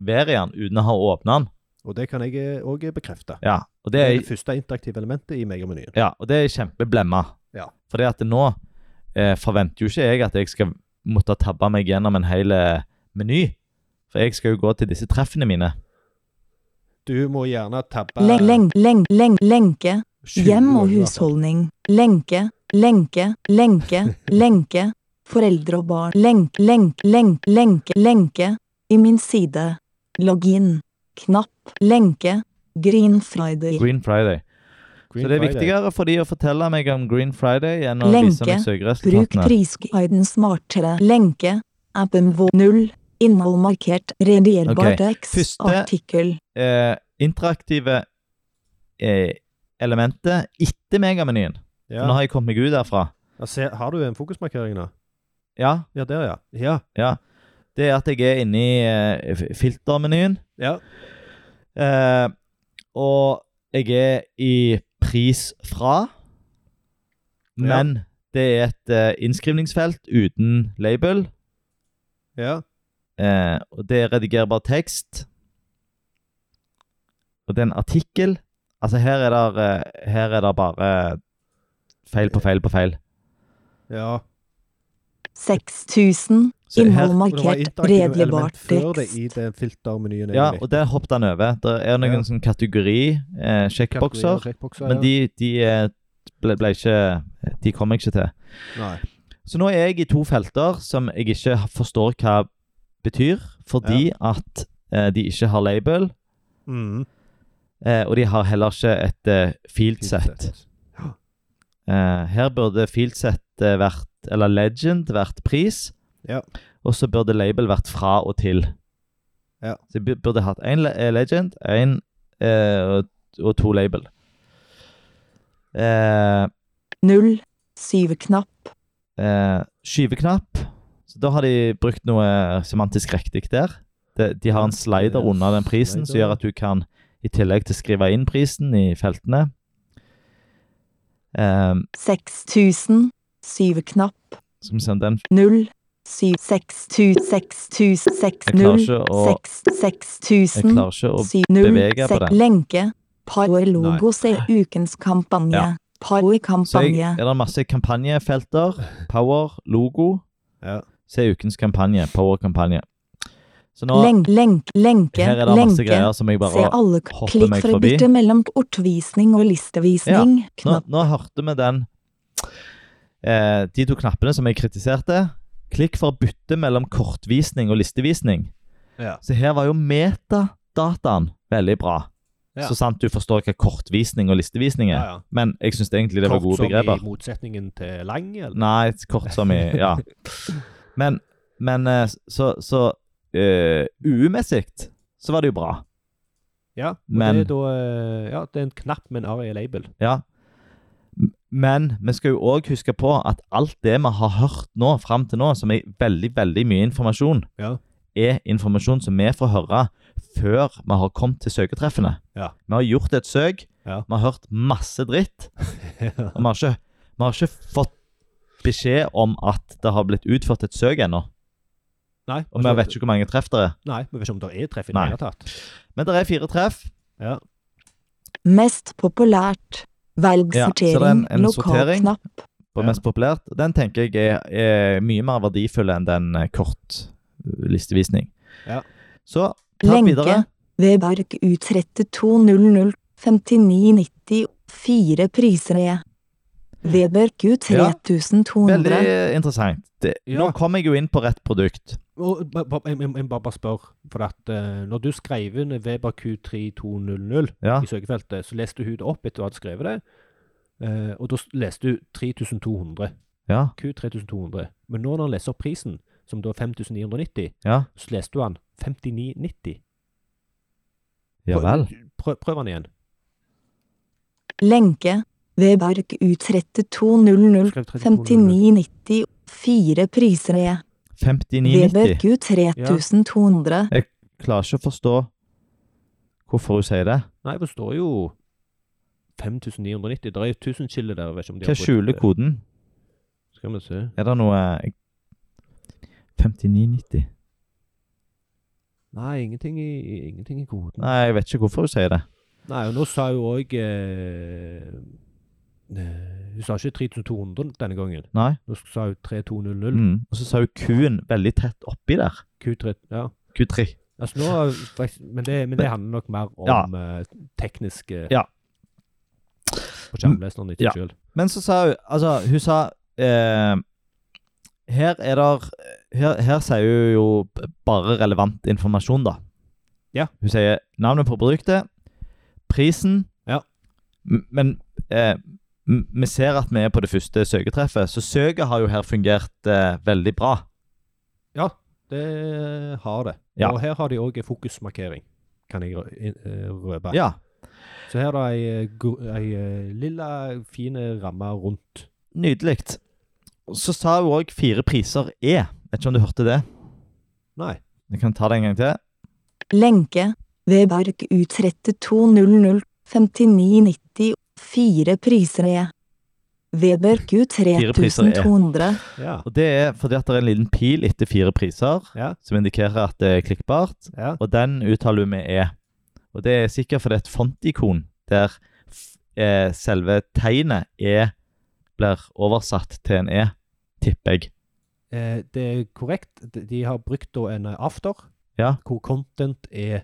S2: være i den, uten å ha åpna den.
S1: Og det kan jeg òg bekrefte.
S2: Ja, og
S1: Det
S2: det
S1: er
S2: er
S1: det første interaktive elementet i megamenyen.
S2: Ja, og det er kjempeblemma.
S1: Ja.
S2: Fordi at nå eh, forventer jo ikke jeg at jeg skal måtte tabbe meg gjennom en hel eh, meny. For jeg skal jo gå til disse treffene mine.
S1: Du må gjerne tabbe
S3: Lenk, lenk, lenk, lenk, lenke.
S1: 20
S3: Hjem og
S1: ganger, altså.
S3: husholdning. Lenke, lenke,
S2: <laughs>
S3: lenke, lenke. Foreldre og barn. Lenk, lenk, lenk, lenke, lenke. I min side. Logg inn. Knapp. Lenke. Green Friday.
S2: Green Friday.
S1: Green
S2: så det er
S1: Friday.
S2: viktigere for de å fortelle meg om Green Friday enn å
S3: Lenke.
S2: vise meg
S3: Bruk
S2: søkeresultatene.
S3: prisguiden smartere. Lenke. Appen vår. Null. Innhold markert. Redierbar
S2: Ok,
S3: tekst.
S2: første-
S3: Artikkel.
S2: Eh, interaktive eh, elementet etter megamenyen. For Nå
S1: Ja.
S2: har jeg kommet meg ut derfra.
S1: Ja, se, har du en fokusmarkering nå?
S2: Ja,
S1: Ja, der, ja. Ja.
S2: det er at jeg er inne i eh, f- filtermenyen.
S1: ja.
S2: Eh, og jeg er i pris fra. Men det er et eh, innskrivningsfelt uten label.
S1: ja.
S2: Eh, og det er redigerbar tekst. Og det er en artikkel. Altså, her er det, eh, her er det bare feil på feil på feil.
S1: ja.
S3: 6000.
S2: Så
S3: Innhold
S2: her,
S1: Og det var
S3: markert.
S1: interaktive
S3: Redeligbar
S1: element før det
S3: tekst.
S1: i den filtermenyen.
S2: ja,
S1: egentlig.
S2: og der hoppet han over. Det er noen
S1: Ja.
S2: sånn kategori, eh,
S1: Kategorier og
S2: sjekkbokser,
S1: sjekkbokser, ja.
S2: men de, de eh, ble, ble ikke De kom jeg ikke til.
S1: Nei.
S2: Så nå er jeg i to felter som jeg ikke forstår hva betyr, fordi at eh, de ikke har label,
S1: Mm.
S2: eh, og de har heller ikke et eh, fieldset.
S1: Fieldset.
S2: Eh, her burde fieldset eh, vært, eller legend, vært pris.
S1: Ja.
S2: Og så burde label vært fra og til.
S1: Ja.
S2: Så jeg bu- burde hatt én le eh, legend, én eh, og, og to label. Eh,
S3: Null. Syverknapp.
S2: eh, skyveknapp. Så da har de brukt noe semantisk riktig der. De, de har en slider under den prisen som gjør at du kan, i tillegg til å skrive inn prisen i feltene eh,
S3: 6000. Syverknapp.
S2: Skal vi se om den
S3: 0, 7, 6, 2, 6, 2, 6,
S2: Jeg klarer
S3: 0,
S2: ikke å-
S3: 6, 6,
S2: Jeg
S3: 000,
S2: klarer ikke å
S3: 7, 0,
S2: bevege på
S3: 6,
S2: den.
S3: lenke, power-logo, se ukens kampanje,
S2: Ja. Så jeg,
S3: power-kampanje,
S2: er det masse kampanjefelter. Power, logo.
S1: Ja.
S2: Se ukens kampanje. Power-kampanje. Så nå
S3: lenk, lenk, lenke,
S2: Her er det masse
S3: lenke,
S2: greier som jeg
S3: se
S2: bare
S3: alle,
S2: hopper
S3: klikk
S2: meg
S3: for å
S2: forbi.
S3: bytte mellom ortvisning og listevisning,
S2: Nå,
S3: knapp,
S2: nå hørte vi den eh, De to knappene som jeg kritiserte. Klikk for å bytte mellom kortvisning og listevisning.
S1: Ja.
S2: Så her var jo metadataen veldig bra.
S1: Ja.
S2: Så sant du forstår hva kortvisning og listevisning
S1: Ja,
S2: er.
S1: ja.
S2: Men jeg syns egentlig det var
S1: Kort
S2: gode begreper.
S1: Som i motsetningen til lang, eller?
S2: Nei, kort som i
S1: <laughs>
S2: Ja. Men, men eh, så, så eh, uumessig så var det jo bra.
S1: Ja, og
S2: Men-
S1: det er da eh, Ja, det er en knapp med en ARIA-label.
S2: Ja. M- Men vi skal jo òg huske på at alt det vi har hørt nå fram til nå, som er veldig, veldig mye informasjon,
S1: Ja.
S2: er informasjon som vi får høre før vi har kommet til søketreffene.
S1: Ja.
S2: Vi har gjort et søk,
S1: Ja.
S2: vi har hørt masse dritt, og vi har ikke, vi har ikke fått beskjed om at det har blitt utført et søk ennå.
S1: <laughs> Nei, altså,
S2: Og vi vet ikke hvor mange treff det er.
S1: Nei, vi vet ikke om det er treff i det
S2: Nei.
S1: hele tatt.
S2: Men det er fire treff.
S1: Ja.
S3: mest populært, velg
S2: Ja, så det er
S3: sortering,
S2: en- en
S3: lokal
S2: sortering.
S3: knapp,
S2: på
S1: Ja.
S2: mest populært. Den tenker jeg er, er mye mer verdifull enn den eh, kort eh, listevisning.
S1: Ja.
S2: Så ta
S3: Lenke.
S2: videre.
S3: Veberg U3200 5990 4 priser E. Veberg
S2: Veldig
S3: U3200
S2: eh, interessant. Det,
S1: Ja.
S2: Nå kom jeg jo inn på rett produkt.
S1: Og ba- ba- jeg jeg- jeg bare, bare spør, for at eh, når du skrev inn Weber Q3200
S2: Ja.
S1: i søkefeltet, så leste hun det opp etter du hadde skrevet det, eh, og da s- leste du 3200.
S2: Ja,
S1: Q3200. Men nå når han leser opp prisen, som da er 5990,
S2: ja.
S1: så leste du han 5990.
S2: Ja vel.
S1: Prøv, prøv han igjen.
S3: lenke. Veberg U3200
S1: Skrev 3200.
S3: 5990 4 priser E. Veberg
S2: 59,90.
S3: U3200
S2: Klarer ikke å forstå hvorfor hun sier det.
S1: Nei, det står jo 5990. Det er jo 1000 skille der. jeg Vet ikke om de
S2: Hva
S1: brukt
S2: skjuler
S1: det.
S2: koden?
S1: Skal vi se.
S2: Er det noe eh, 59,90?
S1: Nei, ingenting i, ingenting i koden.
S2: Nei, jeg vet ikke hvorfor hun sier det.
S1: Nei, og nå sa jo òg eh, eh, Hun sa ikke 3200 denne gangen.
S2: Nei.
S1: Nå sa hun 3200.
S2: Mm. Og så sa hun Q-en veldig tett oppi der.
S1: Q3 Ja.
S2: Q3.
S1: Altså nå, faktisk- men, det, men det handler nok mer om
S2: Ja.
S1: eh, tekniske
S2: Ja.
S1: På skjermleseren ikke
S2: Ja.
S1: selv.
S2: Men så sa hun Altså, hun sa eh, Her er der her, her sier hun jo bare relevant informasjon, da.
S1: Ja.
S2: Hun sier navnet på produktet, prisen
S1: Ja.
S2: M- Men eh, m- vi ser at vi er på det første søketreffet, så søket har jo her fungert eh, veldig bra.
S1: Det har det.
S2: Ja.
S1: Og her har de òg fokusmarkering, kan jeg rø- in- eh, røpe.
S2: Ja.
S1: Så her er det ei, eh, gro- ei eh, lilla, fin ramme rundt.
S2: Nydelig. Så sa hun òg fire priser er. Vet ikke om du hørte det?
S1: Nei.
S2: Jeg kan ta det en gang til.
S3: Lenke, Veberg U3200, 5990, fire priser E. Veberg
S2: Fire priser E.
S3: U3200,
S1: Ja.
S2: Og Det er fordi at det er en liten pil etter fire priser
S1: Ja.
S2: som indikerer at det er klikkbart,
S1: Ja.
S2: og den uttaler hun med E. Og Det er sikkert fordi det er et fontikon der f- eh, selve tegnet E blir oversatt til en E, tipper jeg.
S1: Eh, det er korrekt. De- De har brukt da en eh, after,
S2: Ja.
S1: hvor content er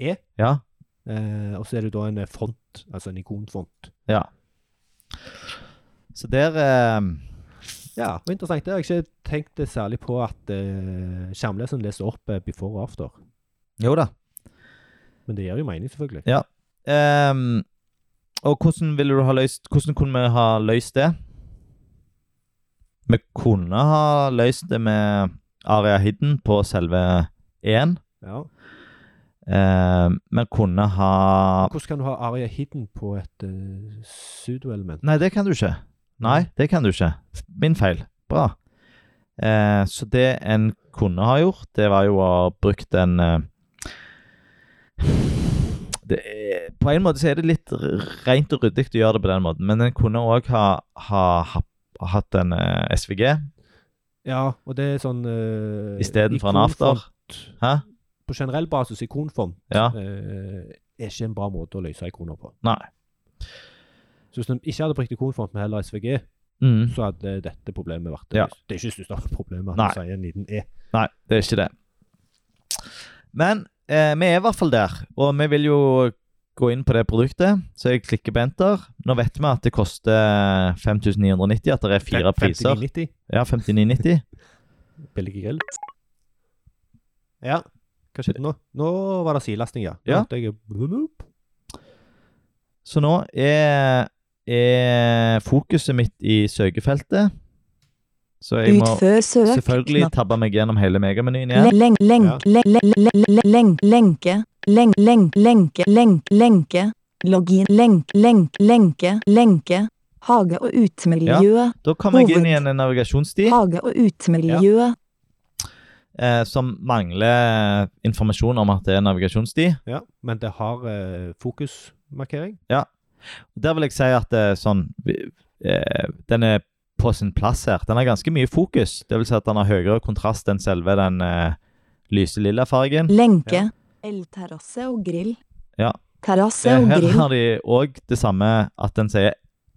S1: E,
S2: Ja,
S1: eh, og så er det da en eh, font, altså en ikonfont.
S2: ja. Så der eh,
S1: Ja, og interessant. Det har jeg ikke tenkt det særlig på at eh, skjermleseren leser opp eh, before og after.
S2: Jo da.
S1: Men det gir jo mening, selvfølgelig.
S2: Ehm, og hvordan ville du ha løst Hvordan kunne vi ha løst det? Vi kunne ha løst det med Aria Hidden på selve E-en.
S1: Ja.
S2: Ehm, vi kunne ha
S1: Hvordan kan du ha Aria Hidden på et eh, pseudo-element?
S2: Nei, det kan du ikke. Nei, det kan du ikke. Min feil. Bra. Eh, så det en kunne ha gjort, det var jo å ha brukt en eh, <sighs> det er, På en måte så er det litt r- rent og ryddig å gjøre det på den måten, men en kunne òg ha, ha, ha, hatt en eh, SVG
S1: Ja, og det er sånn uh,
S2: istedenfor en after. Hæ?
S1: På generell basis, ikonfont
S2: Ja.
S1: eh, er ikke en bra måte å løse ikoner på.
S2: Nei.
S1: Så hvis de ikke hadde brukt ikonfont, men heller SVG,
S2: Mm.
S1: så hadde dette problemet vært
S2: Ja.
S1: løst. Det er ikke det største problemet
S2: Nei.
S1: at du sier en liten E.
S2: Nei, det er ikke det. Men eh, vi er i hvert fall der, og vi vil jo gå inn på det produktet. Så jeg klikker på enter. Nå vet vi at det koster 5990, at det er
S1: Fem-
S2: fire priser.
S1: 59,90.
S2: Ja, 5990.
S1: Billig grill. Ja, <laughs> hva skjedde nå? Nå var det silasting, ja. Nå
S2: Ja.
S1: hørte Jeg, Blup.
S2: Så nå er, er fokuset mitt i søkefeltet. Så jeg må
S3: utfør søk,
S2: selvfølgelig
S3: knapp.
S2: tabbe meg gjennom hele megamenyen igjen.
S3: Lenk, lenk, lenk, lenk, lenk, lenke, lenk, lenk, lenke, lenk, lenke, login, lenk, lenk, lenke, lenke, hage og utemiljø,
S2: Da kommer jeg inn i
S3: Hoved.
S2: en navigasjonssti
S3: hage og utemiljø,
S2: eh, som mangler informasjon om at det er en navigasjonssti.
S1: ja. Men det har eh, fokusmarkering.
S2: Der vil jeg si at eh, sånn vi- eh, Den er på sin plass her. Den har ganske mye fokus. Det vil si at den har høyere kontrast enn selve den eh, lyse lilla fargen.
S1: Ja.
S3: lenke, elterrasse og grill,
S2: Ja.
S3: terrasse
S2: Eh,
S3: og
S2: her
S3: grill,
S2: har de òg det samme at den sier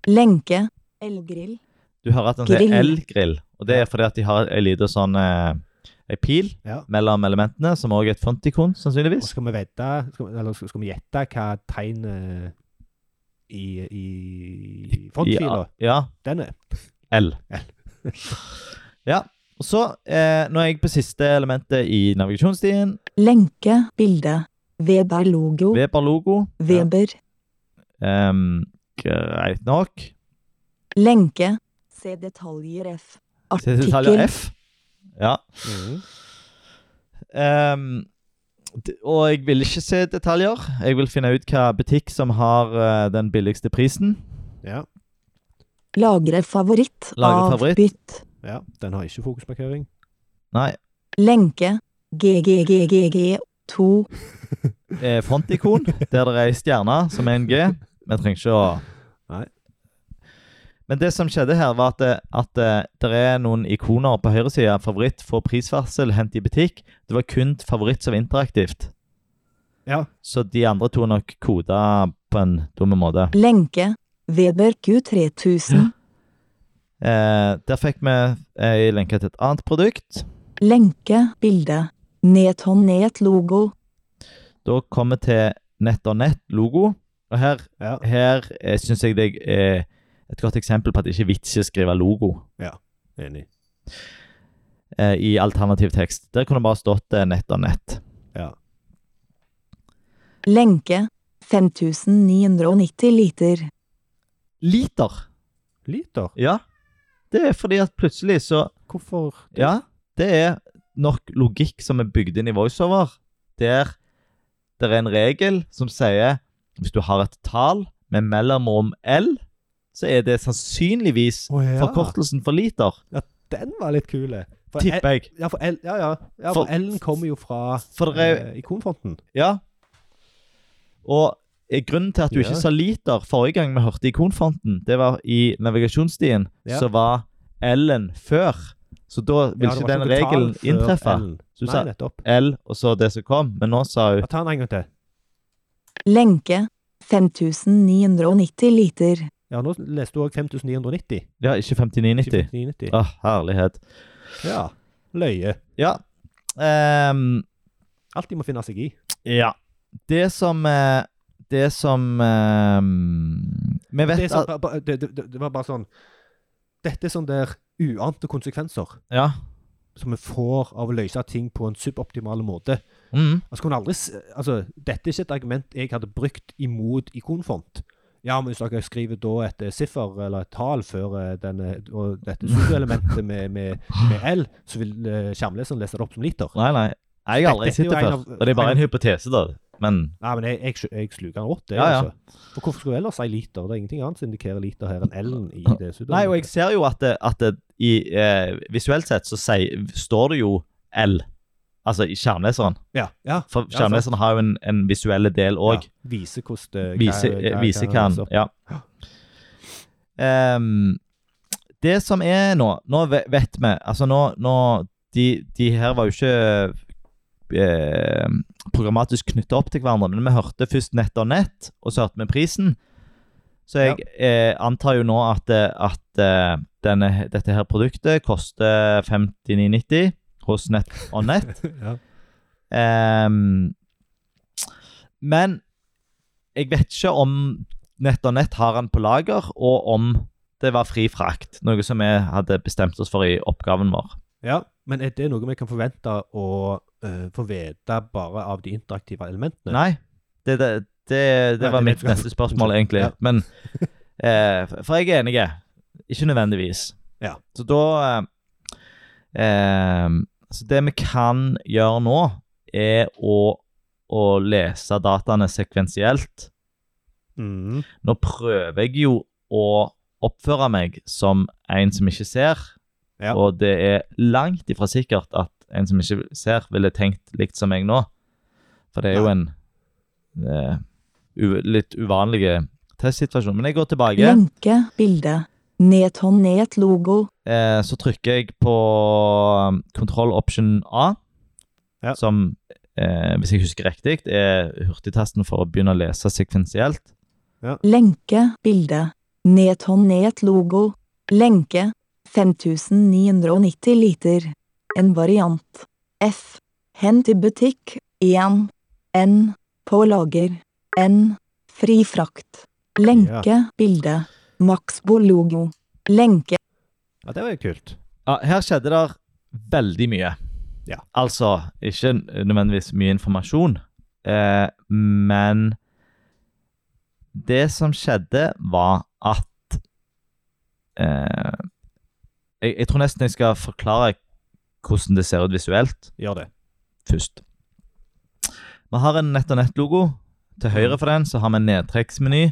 S3: lenke, elgrill,
S2: Du hører at den
S3: Grill.
S2: sier L-grill. Og det er fordi at de har ei liten sånn eh, ei pil
S1: Ja.
S2: mellom elementene, som òg er et fontikon,
S1: Og
S2: sannsynligvis.
S1: skal vi vedde, skal, vi- eller skal skal vi gjette hva tegnet eh, i, i fontfila
S2: Ja, ja,
S1: den er?
S2: L.
S1: L.
S2: ja. Og så, eh, nå er jeg på siste elementet i navigasjonsstien.
S3: lenke, bilde, Weber logo,
S2: Weber-logo.
S3: Weber,
S2: Ehm, greit nok.
S3: lenke, se detaljer F,
S2: Se detaljer
S3: artikkel,
S2: F. Ja.
S1: Mm.
S2: Ehm, d- og jeg vil ikke se detaljer. Jeg vil finne ut hva butikk som har eh, den billigste prisen.
S1: Ja,
S3: lagre favoritt,
S2: Lagre favoritt.
S3: avbytt,
S1: ja. Den har ikke fokusmarkering.
S2: Nei,
S3: Lenke. GGGGG2.
S1: <laughs>
S2: eh, frontikon, der det er ei stjerne som er en G. Vi trenger ikke å
S1: Nei.
S2: Men det som skjedde her, var at, det- at eh, det er noen ikoner på høyresida. Favoritt, få prisvarsel, hent i butikk. Det var kun favoritt som var interaktivt.
S1: Ja.
S2: Så de andre to er nok koda på en dum måte.
S3: Lenke. Weber Q3000.
S2: Eh, der fikk vi ei lenke til et annet produkt.
S3: Lenke. Bilde. Nethåndnet-logo.
S2: Da kommer vi til Nett og Nett-logo. Og her,
S1: Ja.
S2: her syns jeg det er et godt eksempel på at det ikke er vits i å skrive logo
S1: Enig.
S2: eh, i alternativ tekst. Der kunne det bare stått eh, Nett og Nett.
S3: Lenke. 5990 liter.
S2: Liter.
S1: Liter?
S2: Ja. Det er fordi at plutselig så
S1: Hvorfor
S2: Ja, det er nok logikk som er bygd inn i voiceover, der det er en regel som sier hvis du har et tall med mellomrom L, så er det sannsynligvis
S1: Å ja.
S2: forkortelsen for liter,
S1: Den var litt kul. For L-
S2: tipper jeg.
S1: Ja, for L, ja, ja. ja
S2: For-
S1: for L-en kommer jo fra
S2: For det er,
S1: eh, ikonfronten.
S2: ja. Og eh, grunnen til at du
S1: Ja.
S2: ikke sa liter forrige gang vi hørte ikonfonten, det var i navigasjonsstien,
S1: Ja.
S2: så var L-en før. Så da vil
S1: Ja, det
S2: ikke
S1: var
S2: den
S1: noe tall
S2: regelen
S1: før
S2: inntreffe.
S1: L-en.
S2: Så du
S1: Nei,
S2: sa
S1: nettopp.
S2: L, og så det som kom. Men nå sa hun
S1: Ja, ta den en gang til.
S3: Lenke. 5990 liter.
S1: Ja, nå leste du òg 5990.
S2: Ja, ikke 59,90.
S1: 5990.
S2: Åh, herlighet.
S1: Ja. Løye.
S2: Ja. ehm,
S1: Alt de må finne seg i.
S2: ja. Det som eh, Det som ehm, Vi vet
S1: Det, er sånn,
S2: at
S1: ba- ba- det, det, det var bare sånn Dette er sånn der uante konsekvenser
S2: Ja.
S1: som vi får av å løse ting på en suboptimal måte.
S2: Mm,
S1: Altså, kunne aldri, s- altså, dette er ikke et argument jeg hadde brukt imot ikonfont. Ja, men hvis dere skriver da et eh, siffer eller et tall før eh, denne, og dette superelementet med, med, med L, så vil eh, skjermleseren lese det opp som liter.
S2: nei, nei. Jeg har aldri
S1: Dette er
S2: sett
S1: jo
S2: det
S1: en
S2: før.
S1: av-
S2: Og det er bare en hypotese, da. Men
S1: Nei, men jeg, jeg, skj- jeg sluker den rått, det.
S2: Ja, ja.
S1: Altså. For hvorfor skulle jeg ellers si liter? Det er ingenting annet som indikerer liter her enn L-en i det
S2: Nei, og jeg
S1: superelementet.
S2: ser jo at, det, at det, i, eh, visuelt sett så sier, står det jo L. Altså i skjermleseren.
S1: <laughs> Ja, ja.
S2: For
S1: Ja, sant.
S2: skjermleseren har jo en, en visuelle del òg.
S1: ja. Vise hvordan det
S2: Vise, eh, vise hva han Ja. Ehm, det som er nå Nå ve- vet vi Altså, nå, nå de, de her var jo ikke eh, programmatisk knytta opp til hverandre, men vi hørte først Nett og Nett, og så hørte vi prisen. Så jeg eh, antar jo nå at, eh, at eh, denne, dette her produktet koster 59,90 hos Nett og Nett.
S1: <laughs> ja.
S2: Ehm, men jeg vet ikke om Nett og Nett har han på lager, og om det var fri frakt. Noe som vi hadde bestemt oss for i oppgaven vår.
S1: Ja, men er det noe vi kan forvente å eh, få vite bare av de interaktive elementene?
S2: Nei, det, det, det, det
S1: Nei,
S2: var
S1: det
S2: mitt
S1: vet jeg.
S2: neste spørsmål, egentlig.
S1: Ja.
S2: Men eh, For jeg er enig. Ikke nødvendigvis.
S1: Ja.
S2: Så da eh, eh, Så det vi kan gjøre nå, er å, å lese dataene sekvensielt.
S1: Mm.
S2: Nå prøver jeg jo å oppføre meg som en som ikke ser,
S1: Ja.
S2: og det er langt ifra sikkert at en som ikke ser, ville tenkt likt som meg nå. For det er jo en eh, u litt uvanlig testsituasjon. Men jeg går tilbake,
S3: Lenke. Bilde. Nethåndnet-logo.
S2: eh, så trykker jeg på um, control option A,
S1: Ja.
S2: som, eh, hvis jeg husker riktig, er hurtigtasten for å begynne å lese sekvensielt.
S3: Lenke. Bilde. Nethåndnet-logo. Lenke. 5990 liter. En variant. F. Hen til butikk. 1. N. På lager. N. Fri frakt. Lenke. Bilde. Maxbo-logo. Lenke.
S1: Ja, det var jo kult.
S2: Ja, her skjedde der veldig mye.
S1: Ja.
S2: Altså, ikke nødvendigvis mye informasjon, eh, men det som skjedde var at eh, jeg, jeg tror nesten jeg skal forklare hvordan det ser ut visuelt
S1: Gjør det.
S2: først. Vi har en nett og nett-logo. Til høyre for den så har vi en nedtrekksmeny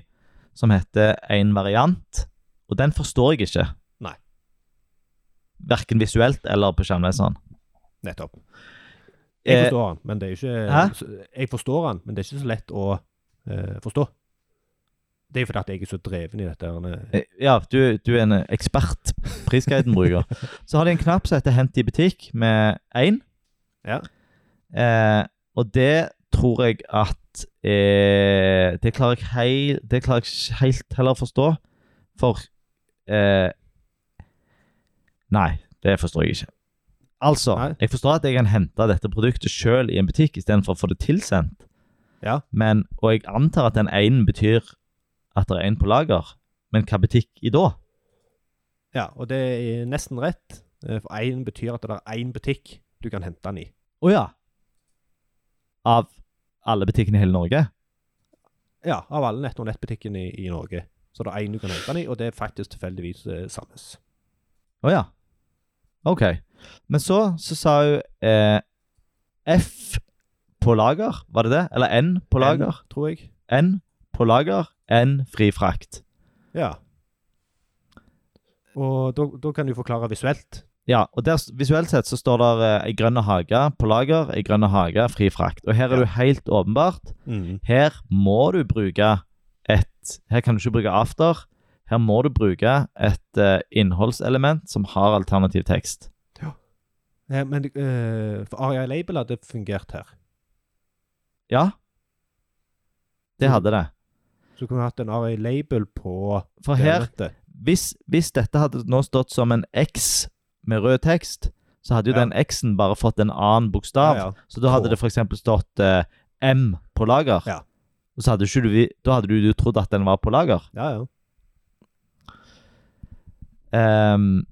S2: som heter en variant, og den forstår jeg ikke.
S1: Nei.
S2: Verken visuelt eller på skjermleseren.
S1: Nettopp. Jeg
S2: Eh,
S1: forstår han, men det er jo ikke
S2: Hæ?
S1: så- Jeg forstår han, men det er ikke så lett å eh, forstå. Det er jo fordi at jeg er så dreven i dette. Arne.
S2: eh, ja, du, du er en ekspert
S1: <laughs>
S2: prisguiden-bruker. så har de en knapp som heter 'Hent i butikk' med én.
S1: Ja.
S2: Eh, og det tror jeg at eh, Det klarer jeg, hei, det klarer jeg ikke helt heller å forstå, for eh, Nei, det forstår jeg ikke. Altså,
S1: Nei.
S2: jeg forstår at jeg kan hente dette produktet selv i en butikk istedenfor å få det tilsendt.
S1: Ja.
S2: Men, og jeg antar at den ene betyr at det er en på lager. Men hva butikk i da?
S1: Ja, og det er nesten rett. eh, For én betyr at det er én butikk du kan hente den i.
S2: Å ja. Av alle butikkene i hele Norge?
S1: Ja, av alle nett- og nettbutikkene i, i Norge. Så det er én du kan hente den i, og det er faktisk tilfeldigvis eh, Sandnes.
S2: Å ja. OK. Men så, så sa hun eh, F på lager, var det det? Eller N på lager?
S1: En, tror jeg.
S2: N på lager, N fri frakt.
S1: Ja. Og da da kan du forklare visuelt.
S2: Ja, og der, visuelt sett så står der eh, ei grønn hage på lager, ei grønn hage, fri frakt. Og her er det jo helt åpenbart. Her må du bruke et Her kan du ikke bruke after. Her må du bruke et eh, innholdselement som har alternativ tekst.
S1: Eh, Men eh, for Aria Label hadde fungert her.
S2: Ja, det hadde det.
S1: Så kunne vi hatt en Aria Label på
S2: For her
S1: dette.
S2: hvis, hvis dette hadde nå stått som en X med rød tekst, så hadde jo
S1: Ja.
S2: den X-en bare fått en annen bokstav.
S1: Ja, ja.
S2: Så da
S1: K.
S2: hadde det f.eks. stått eh, M på lager.
S1: Ja.
S2: Og så hadde ikke du, vi- da hadde du, jo trodd at den var på lager.
S1: Ja, ja.
S2: Ehm,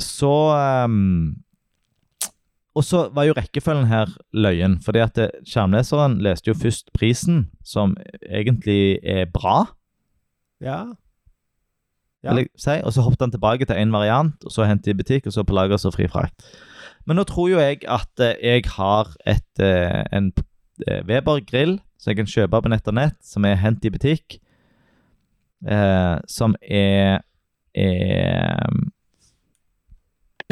S2: så ehm, Og så var jo rekkefølgen her løyen. Fordi at eh, skjermleseren leste jo først prisen, som e-, egentlig er bra.
S1: ja. Ja.
S2: vil jeg si. Og så hoppet han tilbake til en variant, og så hentet i butikk, og så på lager så fri frakt. Men nå tror jo jeg at eh, jeg har et, eh, en eh, Weber grill som jeg kan kjøpe på nett og nett, som er hent i butikk, eh, som er, eh, er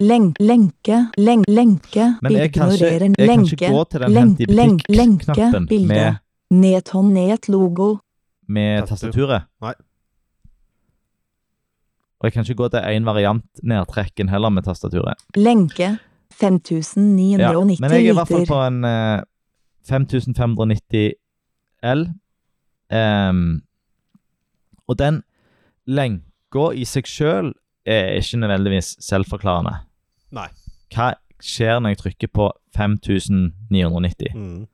S3: Lenk, lenke, lenk, lenke,
S2: Men jeg kan ikke,
S3: ignorerer,
S2: jeg kan ikke
S3: lenke,
S2: gå til den
S3: lenk-
S2: hent i
S3: lenk-
S2: butikk-knappen
S3: lenke, bilde.
S2: med,
S3: nedhåndnet-logo,
S2: med
S1: Tastatur.
S2: tastaturet.
S1: Nei.
S2: Og jeg kan ikke gå til én variant nedtrekken heller med tastaturet.
S3: lenke,
S2: Ja,
S3: 5990
S2: men jeg er i hvert fall
S3: liter,
S2: på en eh, 5590 L. Ehm, og den lenka i seg sjøl er ikke nødvendigvis selvforklarende.
S1: Nei.
S2: Hva skjer når jeg trykker på 5990?
S1: Mm.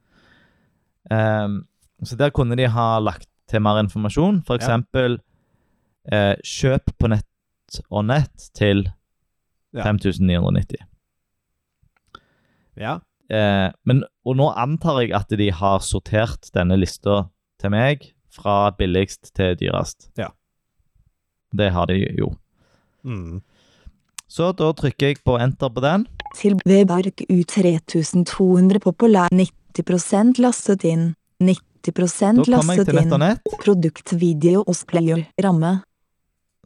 S2: Ehm, så der kunne de ha lagt til mer informasjon. For
S1: Ja.
S2: eksempel eh, kjøp på nett og nett til
S1: Ja.
S2: 5990.
S1: Ja.
S2: Eh, men, og nå antar jeg at de har sortert denne lista til meg fra billigst til dyrest.
S1: Ja.
S2: Det har de jo.
S1: Mm.
S2: Så da trykker jeg på enter på den.
S3: til Weberg U3200 populær, 90 lastet inn, 90
S2: Da kommer jeg
S3: lastet
S2: til nett og
S3: inn,
S2: nett.
S3: produktvideo og splayer, ramme,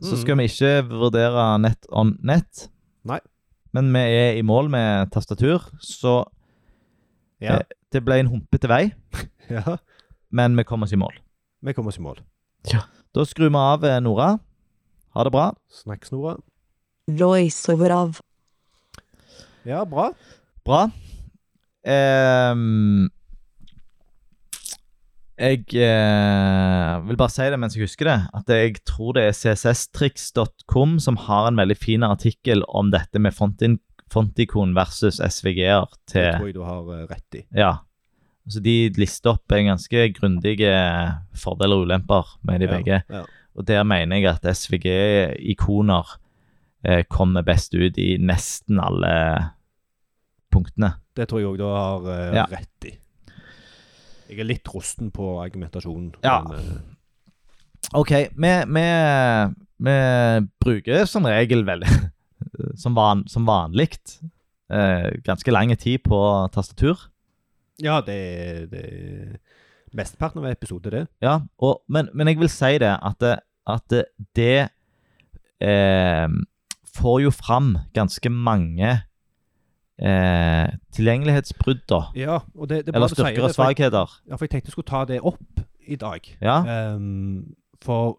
S2: Så skal vi ikke vurdere nett on nett.
S1: Mm. Nei.
S2: Men vi er i mål med tastatur, så
S1: Ja.
S2: Eh. det ble en humpete vei.
S1: ja.
S2: Men vi kom oss i mål.
S1: Vi kommer oss i mål.
S2: Da skrur vi av eh, Nora. Ha det bra.
S1: Snakk, Snora.
S3: voiceover av,
S1: Ja, bra.
S2: Bra. Ehm, jeg eh, vil bare si det mens jeg husker det, at jeg tror det er csstrix.com som har en veldig fin artikkel om dette med fontin- fontikon versus SVG-er
S1: Det
S2: til
S1: tror jeg du har eh, rett i.
S2: Ja. Så de lister opp en ganske grundige fordeler og ulemper med de
S1: Ja,
S2: begge.
S1: ja.
S2: Og der mener jeg at SVG-ikoner eh, kommer best ut i nesten alle punktene.
S1: Det tror jeg òg du har eh,
S2: Ja.
S1: rett i. Jeg er litt rusten på argumentasjonen.
S2: Ja.
S1: men, eh,
S2: Ok, vi, vi, vi bruker som regel veldig <laughs> Som, van, som vanlig eh, ganske lang tid på tastatur.
S1: ja, det er det er Mesteparten av episoden, det.
S2: Ja, og, men, men jeg vil si det at det, at det, det eh, får jo fram ganske mange eh, tilgjengelighetsbrudd, da.
S1: Ja, og det, det er bra
S2: Eller
S1: du sier
S2: styrker og
S1: det, for jeg-
S2: svakheter.
S1: Ja, for jeg tenkte jeg skulle ta det opp i dag.
S2: Ja,
S1: Ehm, for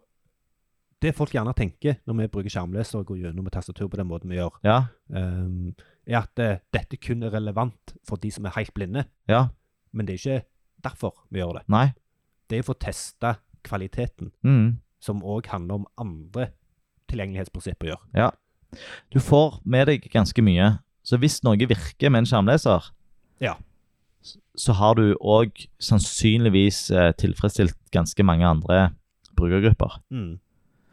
S1: det folk gjerne tenker når vi bruker skjermleser og går gjennom med tastatur på den måten vi gjør,
S2: ja,
S1: ehm, er at eh, dette kun er relevant for de som er helt blinde.
S2: ja.
S1: Men det er ikke derfor vi gjør det.
S2: Nei.
S1: Det er for å teste kvaliteten,
S2: Mm.
S1: som òg handler om andre tilgjengelighetsprinsipper gjør.
S2: Du får med deg ganske mye Så hvis noe virker med en skjermleser,
S1: Ja.
S2: s- så har du òg sannsynligvis eh, tilfredsstilt ganske mange andre brukergrupper.
S1: Mm.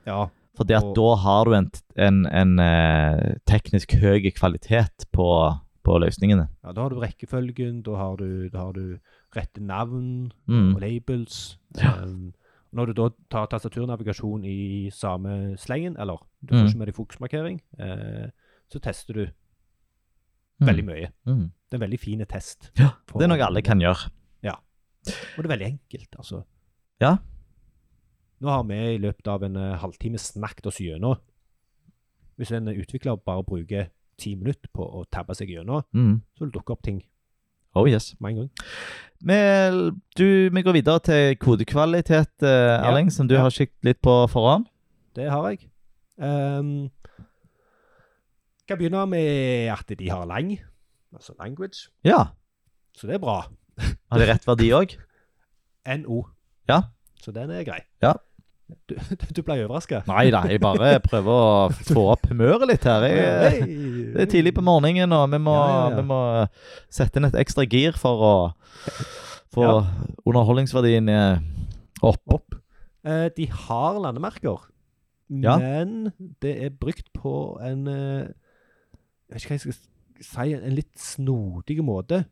S1: Ja.
S2: For det at
S1: Og-
S2: da har du en, t- en, en eh, teknisk høy kvalitet på, på løsningene.
S1: ja, da har du rekkefølgen, da har du, da har du rette navn
S2: Mm.
S1: og labels.
S2: Ja.
S1: Um, når du da tar tastaturnavigasjon i samme slengen, eller du får
S2: Mm.
S1: ikke med deg fokusmarkering, eh, så tester du veldig mye.
S2: Mm.
S1: Det er en veldig fin test.
S2: Ja,
S1: på-
S2: Det er noe alle kan gjøre.
S1: Og det er veldig enkelt, altså.
S2: Ja.
S1: Nå har vi i løpet av en eh, halvtime snakket oss gjennom. Hvis en utvikler bare bruker ti minutter på å tabbe seg gjennom,
S2: Mm.
S1: så vil det dukke opp ting
S2: Oh yes.
S1: med en gang.
S2: Vi, du, vi går videre til kodekvalitet, eh, Erling, som du
S1: ja.
S2: har kikket litt på forhånd.
S1: Det har jeg. Um, kan begynne med at de har lang, altså language.
S2: Ja.
S1: Så det er bra.
S2: Har de rett verdi òg?
S1: NO.
S2: Ja.
S1: Så den er grei.
S2: Ja.
S1: Du, <laughs> du ble overraska?
S2: Nei da, jeg bare prøver å få opp humøret litt her. Jeg, det er tidlig på morgenen, og vi må,
S1: Ja, ja, ja.
S2: Vi må sette inn et ekstra gir for å få
S1: Ja.
S2: underholdningsverdien eh, opp.
S1: Opp. Eh, de har landemerker,
S2: Ja.
S1: men det er brukt på en eh, Jeg vet ikke hva jeg skal s- si, en litt snodig måte.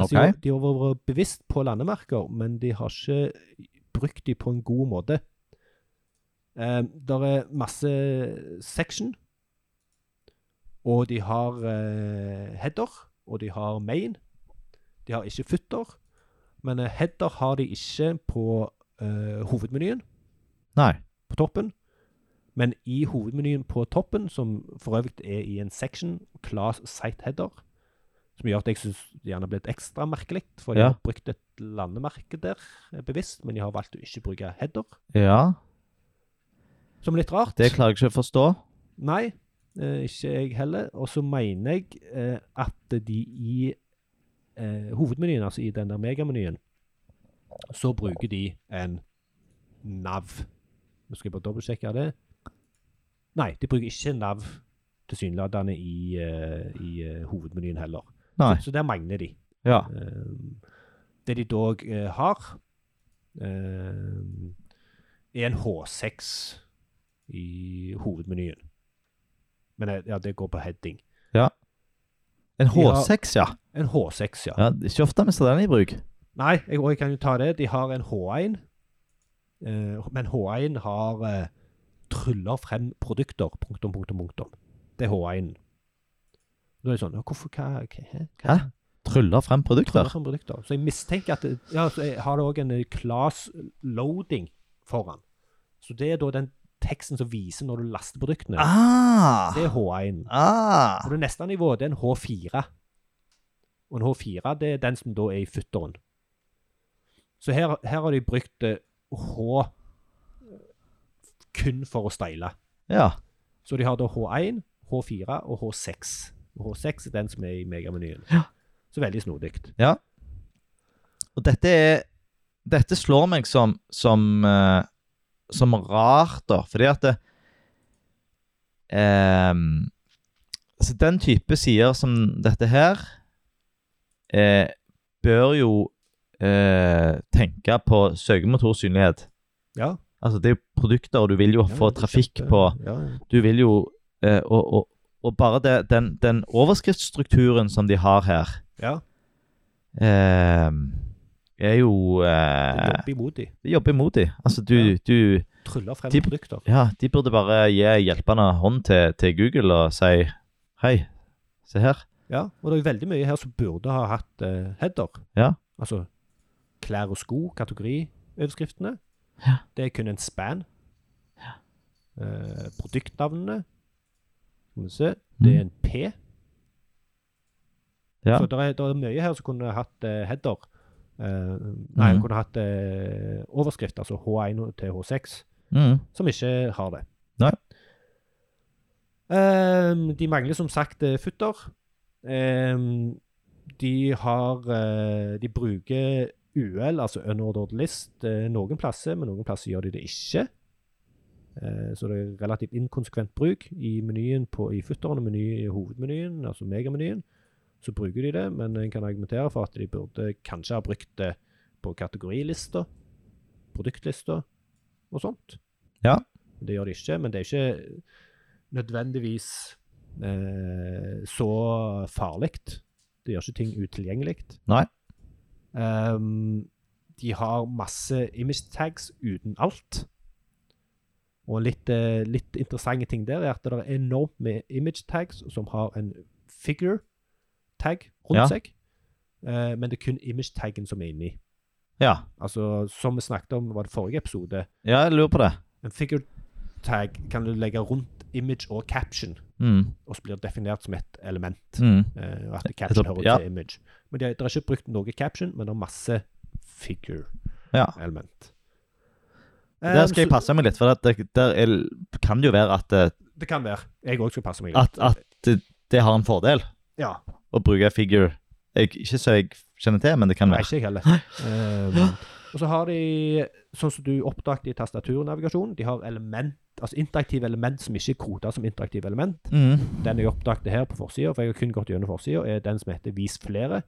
S1: Altså,
S2: Ok.
S1: de, har, de har vært bevisst på landemerker, men de har ikke brukt de på en god måte. Eh, der er masse section, og de har eh, header, og de har main. De har ikke footer, men eh, header har de ikke på eh, hovedmenyen
S2: Nei.
S1: på toppen. Men i hovedmenyen på toppen, som for øvrig er i en section, class site header, som gjør at jeg syns det gjerne blir litt ekstra merkelig, for jeg
S2: Ja.
S1: har brukt et landemerke der eh, bevisst, men jeg har valgt å ikke bruke header,
S2: Ja,
S1: som er litt rart.
S2: det klarer jeg ikke å forstå.
S1: Nei, eh, ikke jeg heller. Og så mener jeg eh, at de i eh, hovedmenyen, altså i den der megamenyen, så bruker de en nav. Nå skal jeg bare dobbeltsjekke det. Nei, de bruker ikke nav tilsynelatende i, eh, i eh, hovedmenyen heller.
S2: Nei.
S1: Så, så der mangler de.
S2: Ja.
S1: Ehm, Det de dog eh, har, ehm, er en H6 i hovedmenyen. Men eh, ja, det går på heading.
S2: En H6, ja.
S1: En H6, ja.
S2: ja. Ikke ofte vi ser den i bruk.
S1: Nei, jeg, og jeg kan jo ta det. De har en H1. eh, men H1 har eh, 'tryller frem produkter'. Punktum, punktum, punktum. Det er H1. Da er det sånn «Ja, Hvorfor hva, hva, hæ? hva,
S2: Hæ? Tryller frem produkter.
S1: Tryller frem produkter. Så jeg mistenker at det- ja, så jeg har det òg en eh, class loading foran. Så det er da den teksten som viser når du laster produktene.
S2: Ah.
S1: Det er H1. Og
S2: Ah.
S1: det neste nivået det er en H4. Og en H4 det er den som da er i futteren. Så her, her har de brukt eh, H eh, kun for å style.
S2: Ja.
S1: Så de har da H1, H4 og H6. Og H6 er den som er i megamenyen.
S2: Ja.
S1: Så veldig snodig.
S2: Og dette er Dette slår meg som som, eh, som rart, da. Fordi at det, ehm, altså Den type sider som dette her eh, bør jo eh, tenke på søkemotorsynlighet.
S1: Ja.
S2: Altså, det er jo produkter, og du vil jo
S1: Ja,
S2: få
S1: det er
S2: trafikk
S1: kjempe-
S2: på
S1: ja, ja.
S2: du vil jo eh, og, og, og bare det, den, den overskriftsstrukturen som de har her,
S1: Ja,
S2: eh, er jo
S1: de
S2: eh,
S1: jobber imot de.
S2: De jobber imot dem. Altså, du,
S1: Ja.
S2: du
S1: Tryller frem
S2: de-
S1: produkter.
S2: Ja, de burde bare gi en hjelpende hånd til, til Google og si Hei, se her.
S1: Ja, og det er veldig mye her som burde ha hatt eh, header.
S2: Ja.
S1: Altså klær og sko, kategorioverskriftene.
S2: Ja.
S1: Det er kun en span. Eh, produktnavnene. Skal vi se. Det er en P.
S2: Ja.
S1: Så det er, der er mye her som kunne hatt eh, header. Eh, nei,
S2: Mhm.
S1: kunne hatt eh, overskrift, altså H1 til H6.
S2: Mm.
S1: som ikke har det.
S2: Nei.
S1: Ehm, de mangler som sagt eh, futter. Ehm, de har eh, De bruker UL, altså unordered list, eh, noen plasser, men noen plasser gjør de det ikke. Eh, Så det er relativt inkonsekvent bruk i menyen på, i futteren og meny, i hovedmenyen, altså megamenyen. Så bruker de det, men en kan argumentere for at de burde kanskje ha brukt det på kategorilister, produktlister og sånt.
S2: Ja.
S1: Det gjør de ikke, men det er ikke nødvendigvis eh, så farlig. Det gjør ikke ting utilgjengelig.
S2: Nei.
S1: Ehm, de har masse image tags uten alt. Og litt, eh, litt interessante ting der er at det er enormt med image tags som har en figure tag rundt
S2: Ja.
S1: seg. Eh, men det er kun image taggen som er inni.
S2: Ja.
S1: Altså, som vi snakket om var det forrige episode,
S2: ja, jeg lurer på det.
S1: en figure tag kan du legge rundt image og caption,
S2: Mm.
S1: og så blir det definert som et element.
S2: Mm.
S1: Eh, og at caption
S2: tror-
S1: hører
S2: ja.
S1: til image. Men det, det er ikke brukt noe caption, men det er masse figure
S2: Ja.
S1: element.
S2: Der skal
S1: Um,
S2: jeg passe meg litt, for at det, der er, kan det jo være at, eh,
S1: så- Det kan være. Jeg òg skal passe meg. litt.
S2: at, at det har en fordel
S1: Ja,
S2: å bruke figure. Jeg, ikke så jeg kjenner til, men det kan
S1: Nei, ikke
S2: være.
S1: jeg
S2: <gasps>
S1: heller. Um, og så har de, sånn som du oppdaget i tastaturnavigasjon, de har element, altså interaktive element som ikke er kodet som interaktive element.
S2: Mm.
S1: Den jeg oppdaget her på forsida, for jeg har kun gått gjennom forsida, er den som heter 'Vis flere'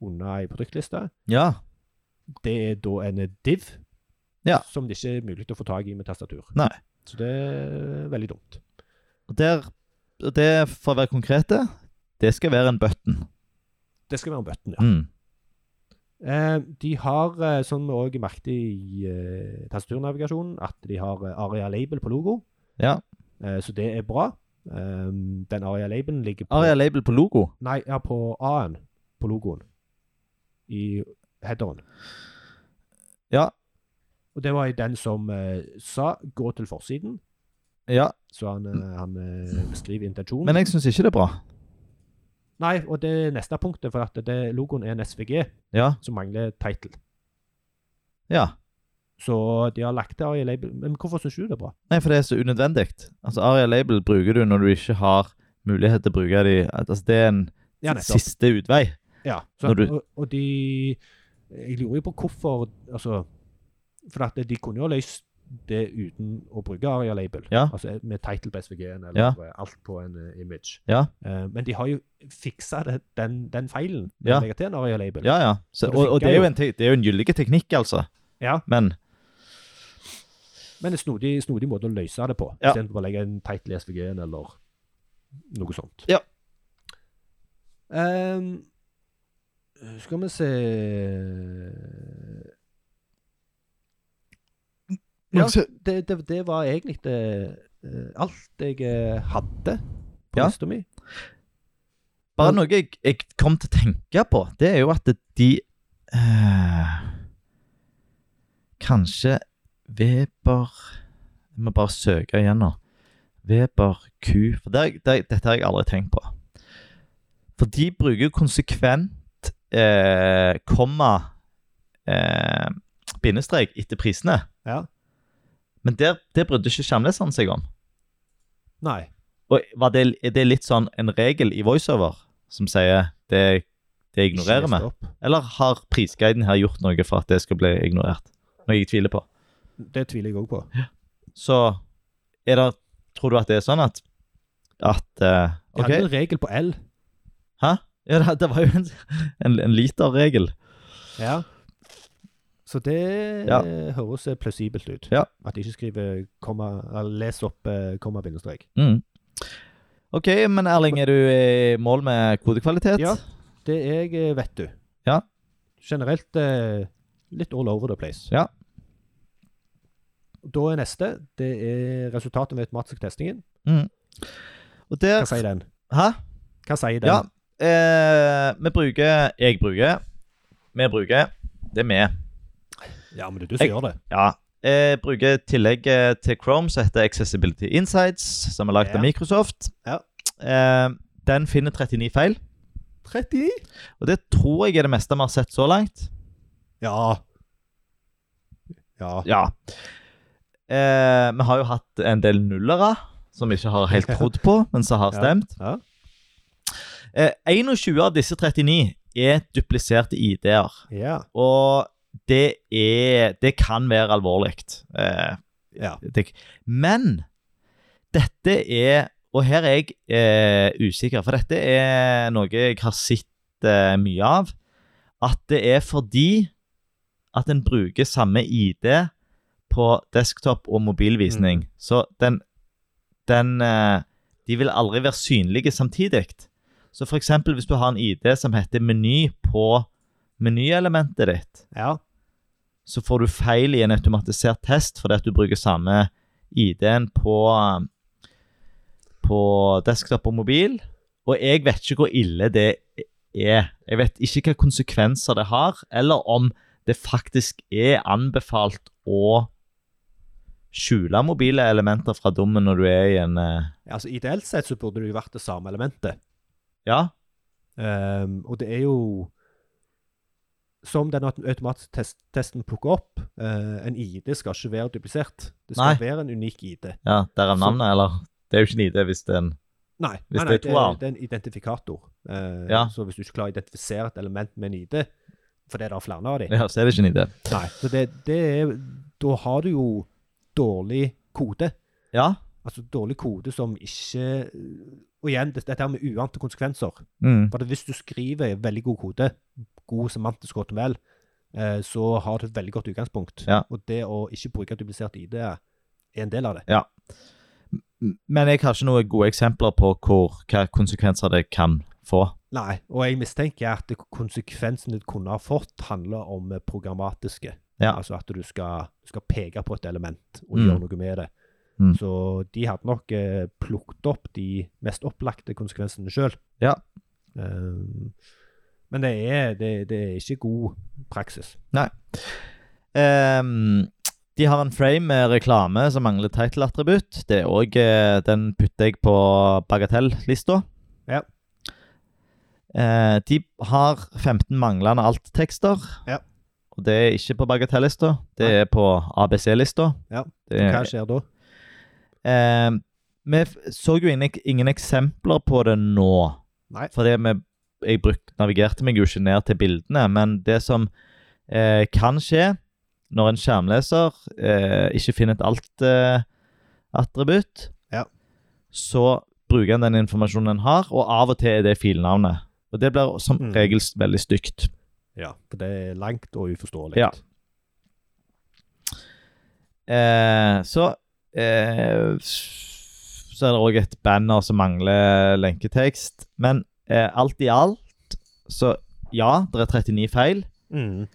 S1: under ei produktliste.
S2: Ja.
S1: Det er da en div
S2: Ja.
S1: som det ikke er mulig å få tak i med tastatur.
S2: Nei.
S1: Så det er veldig dumt.
S2: Og der, og det, for å være konkrete, det skal være en button.
S1: Det skal være bøtten, ja.
S2: Mm.
S1: Eh, de har, eh, som vi òg merket i eh, tastaturnavigasjonen, at de har eh, Aria Label på logo,
S2: Ja.
S1: eh, så det er bra. Ehm, den Aria Labelen ligger på
S2: Aria label på logo.
S1: Nei, ja, på A-en på logoen. I headeren.
S2: Ja.
S1: Og det var i den som eh, sa 'gå til forsiden',
S2: Ja,
S1: så han, eh, han eh, beskriver intensjonen.
S2: men jeg syns ikke det er bra.
S1: Nei, og det er neste punktet, for at det, logoen er en SVG
S2: Ja.
S1: som mangler title.
S2: Ja.
S1: Så de har lagt det i label. Men hvorfor syns du det er bra?
S2: Nei, for det er så unødvendig. Altså, Aria Label bruker du når du ikke har mulighet til å bruke de Altså, det er en
S1: Ja, nettopp.
S2: siste utvei.
S1: Ja, så,
S2: Når du-
S1: og, og de Jeg lurer jo på hvorfor altså, For at de kunne jo ha løst det uten å bruke Aria Label.
S2: Ja.
S1: Altså med title på SVG-en eller
S2: Ja.
S1: eh, alt på en eh, image.
S2: Ja.
S1: Eh, men de har jo fiksa det, den, den feilen med
S2: Ja.
S1: å legge til en Aria Label.
S2: Ja, ja. Så,
S1: Men det
S2: og, og
S1: funker
S2: det er
S1: jo.
S2: jo en, te- det er jo en gyldig teknikk, altså.
S1: Ja.
S2: Men
S1: Men en snodig, snodig måte å løse det på,
S2: Ja.
S1: istedenfor å legge en title i SVG-en eller noe sånt.
S2: Ja.
S1: Ehm, skal vi se Ja, det, det, det var egentlig det, eh, alt jeg eh, hadde på
S2: Ja.
S1: lista mi.
S2: Bare
S1: Men-
S2: noe jeg, jeg kom til å tenke på, det er jo at de eh, Kanskje Weber Jeg må bare søke igjen nå. Weber Q For det, det, dette har jeg aldri tenkt på. For de bruker konsekvent eh, komma eh, bindestrek etter prisene.
S1: Ja.
S2: Men der, det brydde ikke skjermleseren seg om.
S1: Nei.
S2: Og var det, er det litt sånn en regel i voiceover som sier det, det ignorerer vi?
S1: ikke lest opp.
S2: Eller har prisguiden her gjort noe for at det skal bli ignorert? Noe jeg tviler på.
S1: Det tviler jeg òg på.
S2: Så er det, tror du at det er sånn at at eh,
S1: Jeg
S2: OK,
S1: hadde en regel på L.
S2: ja, det, det var jo en, en, en literregel.
S1: Ja. Så det
S2: Ja.
S1: eh, høres eh, plausibelt ut.
S2: Ja.
S1: At de ikke skriver komma, eller les opp eh, komma bindestrek.
S2: Mm. OK, men Erling, er du i mål med kodekvalitet?
S1: Ja. Det er jeg, eh, vet du.
S2: Ja.
S1: Generelt eh, litt all over the place.
S2: Ja.
S1: Da er neste det er resultatet ved automatisk testingen.
S2: Mm. Og der
S1: Hva sier den?
S2: Hæ?
S1: Hva sier den?
S2: Ja. Eh, vi bruker Jeg bruker. Vi bruker. Det er vi.
S1: Ja, men det er du som
S2: Jeg-
S1: gjør det.
S2: Ja. Jeg bruker tillegget til Chrome som heter Accessibility Insights, som er lagd
S1: Ja.
S2: av Microsoft.
S1: Ja.
S2: Eh, den finner 39 feil,
S1: 39?
S2: og det tror jeg er det meste vi har sett så langt.
S1: Ja. Ja.
S2: Ja. Eh, vi har jo hatt en del nullere som vi ikke har helt trodd på,
S1: <laughs>
S2: men som har
S1: Ja.
S2: stemt.
S1: Ja.
S2: Eh, 21 av disse 39 er dupliserte ID-er.
S1: Ja.
S2: Og det er Det kan være alvorlig. Eh,
S1: Ja.
S2: Tenk. Men dette er Og her er jeg eh, usikker, for dette er noe jeg har sett eh, mye av. At det er fordi at en bruker samme ID på desktop og mobilvisning. Så den, den eh, De vil aldri være synlige samtidig. Så f.eks. hvis du har en ID som heter meny på menyelementet ditt,
S1: Ja.
S2: så får du feil i en automatisert test fordi at du bruker samme ID-en på, eh, på desktop og mobil. Og jeg vet ikke hvor ille det er. Jeg vet ikke hvilke konsekvenser det har, eller om det faktisk er anbefalt å skjule mobile elementer fra dommen når du er i en eh,
S1: Altså, ideelt sett så burde det jo vært det samme elementet.
S2: Ja,
S1: Ehm, og det er jo Som den autom- automatiske test testen plukker opp, eh, en ID skal ikke være duplisert. Det skal
S2: Nei.
S1: være en unik ID.
S2: ja derav
S1: Så-
S2: navnet, eller? Det er jo ikke en ID hvis det er en
S1: Nei,
S2: Hvis
S1: nei,
S2: det
S1: nei
S2: er
S1: det,
S2: to av
S1: er, det er en identifikator. Eh,
S2: Ja.
S1: Så hvis du ikke klarer å identifisere et element med en ID, for det er det flere av de
S2: Ja, så er det ikke en ID.
S1: Nei, så det, det er Da har du jo dårlig kode.
S2: Ja.
S1: Altså dårlig kode som ikke Og igjen, det- dette her med uante konsekvenser.
S2: Mm.
S1: For at hvis du skriver veldig god kode, god semantisk HTML, eh, så har du et veldig godt utgangspunkt.
S2: Ja.
S1: Og det å ikke bruke duplisert ID er en del av det.
S2: Men jeg har ikke noen gode eksempler på hvor, hva konsekvenser det kan få.
S1: Nei, og jeg mistenker at det- konsekvensen det kunne ha fått, handler om eh, programmatiske.
S2: Ja.
S1: Altså at du skal, skal peke på et element og
S2: Mm.
S1: gjøre noe med det.
S2: Mm.
S1: Så de hadde nok eh, plukket opp de mest opplagte konsekvensene sjøl.
S2: Ja.
S1: men det er, det, det er ikke god praksis.
S2: Ehm, de har en frame med reklame som mangler title-attributt. Det er også, eh, Den putter jeg på bagatell-lista.
S1: Ja.
S2: Eh, de har 15 manglende alt-tekster.
S1: Ja.
S2: Og det er ikke på bagatell-lista, det er på ABC-lista.
S1: Ja.
S2: Det
S1: Hva
S2: er,
S1: skjer da?
S2: Eh, vi f- så jo ingen, ingen eksempler på det nå.
S1: Nei.
S2: Fordi vi, jeg bruk, navigerte meg jo ikke ned til bildene, men det som eh, kan skje når en skjermleser eh, ikke finner et alt-attributt,
S1: Ja.
S2: så bruker en den informasjonen en har, og av og til er det filnavnet. Og det blir som
S1: Mm.
S2: regel s- veldig stygt.
S1: Ja, for det er langt og uforståelig.
S2: Ja. Eh, så eh, Så er det òg et banner som mangler lenketekst. Men eh, alt i alt, så ja, det er 39 feil.
S1: Mm.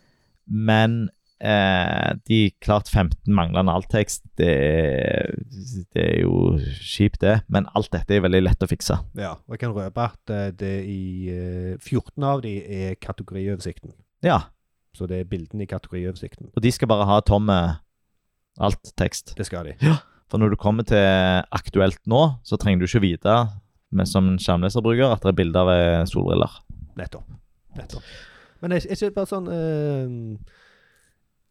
S2: Men eh, de klart 15 manglende alttekst, det, er- det er jo kjipt, det. Men alt dette er veldig lett å fikse.
S1: ja. Og jeg kan røpe at eh, det i eh, 14 av de er kategorioversikten.
S2: Ja,
S1: Så det er bildene i kategorioversikten.
S2: og de skal bare ha tomme alttekst.
S1: Det skal de.
S2: For når du kommer til aktuelt nå, så trenger du ikke vite men som en skjermleserbruker at det er bilder ved solbriller.
S1: Nettopp. Nettopp. Men er ikke- er ikke det bare sånn eh,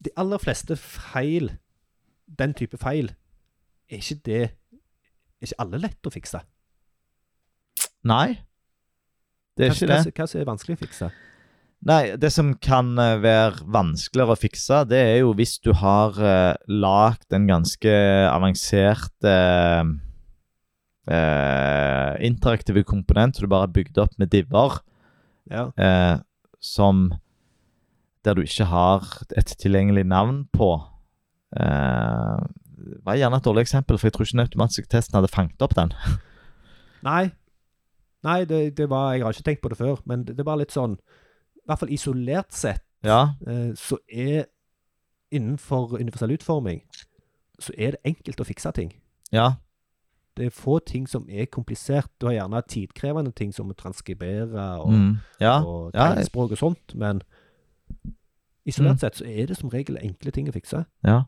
S1: De aller fleste feil, den type feil, er ikke det er ikke alle lett å fikse?
S2: Nei, det er
S1: Hva-
S2: ikke det.
S1: Hva, hva som er vanskelig å fikse?
S2: Nei, det som kan eh, være vanskeligere å fikse, det er jo hvis du har uh, lagd en ganske avansert eh, eh, interaktiv komponent som du bare har bygd opp med diver,
S1: Ja.
S2: eh, som der du ikke har et tilgjengelig navn på. Eh, det var gjerne et dårlig eksempel, for jeg tror ikke den automatiske testen hadde fanget opp den.
S1: Nei. Nei, det, det var Jeg har ikke tenkt på det før, men det, det var litt sånn I hvert fall isolert sett,
S2: Ja,
S1: eh, så er Innenfor universell utforming så er det enkelt å fikse ting.
S2: ja,
S1: Det er få ting som er komplisert. Du har gjerne tidkrevende ting som å transkribere og,
S2: mm, ja,
S1: og
S2: ja.
S1: tegnspråk og sånt, men
S2: Mm.
S1: isolert sett så er det som regel enkle ting å fikse.
S2: ja.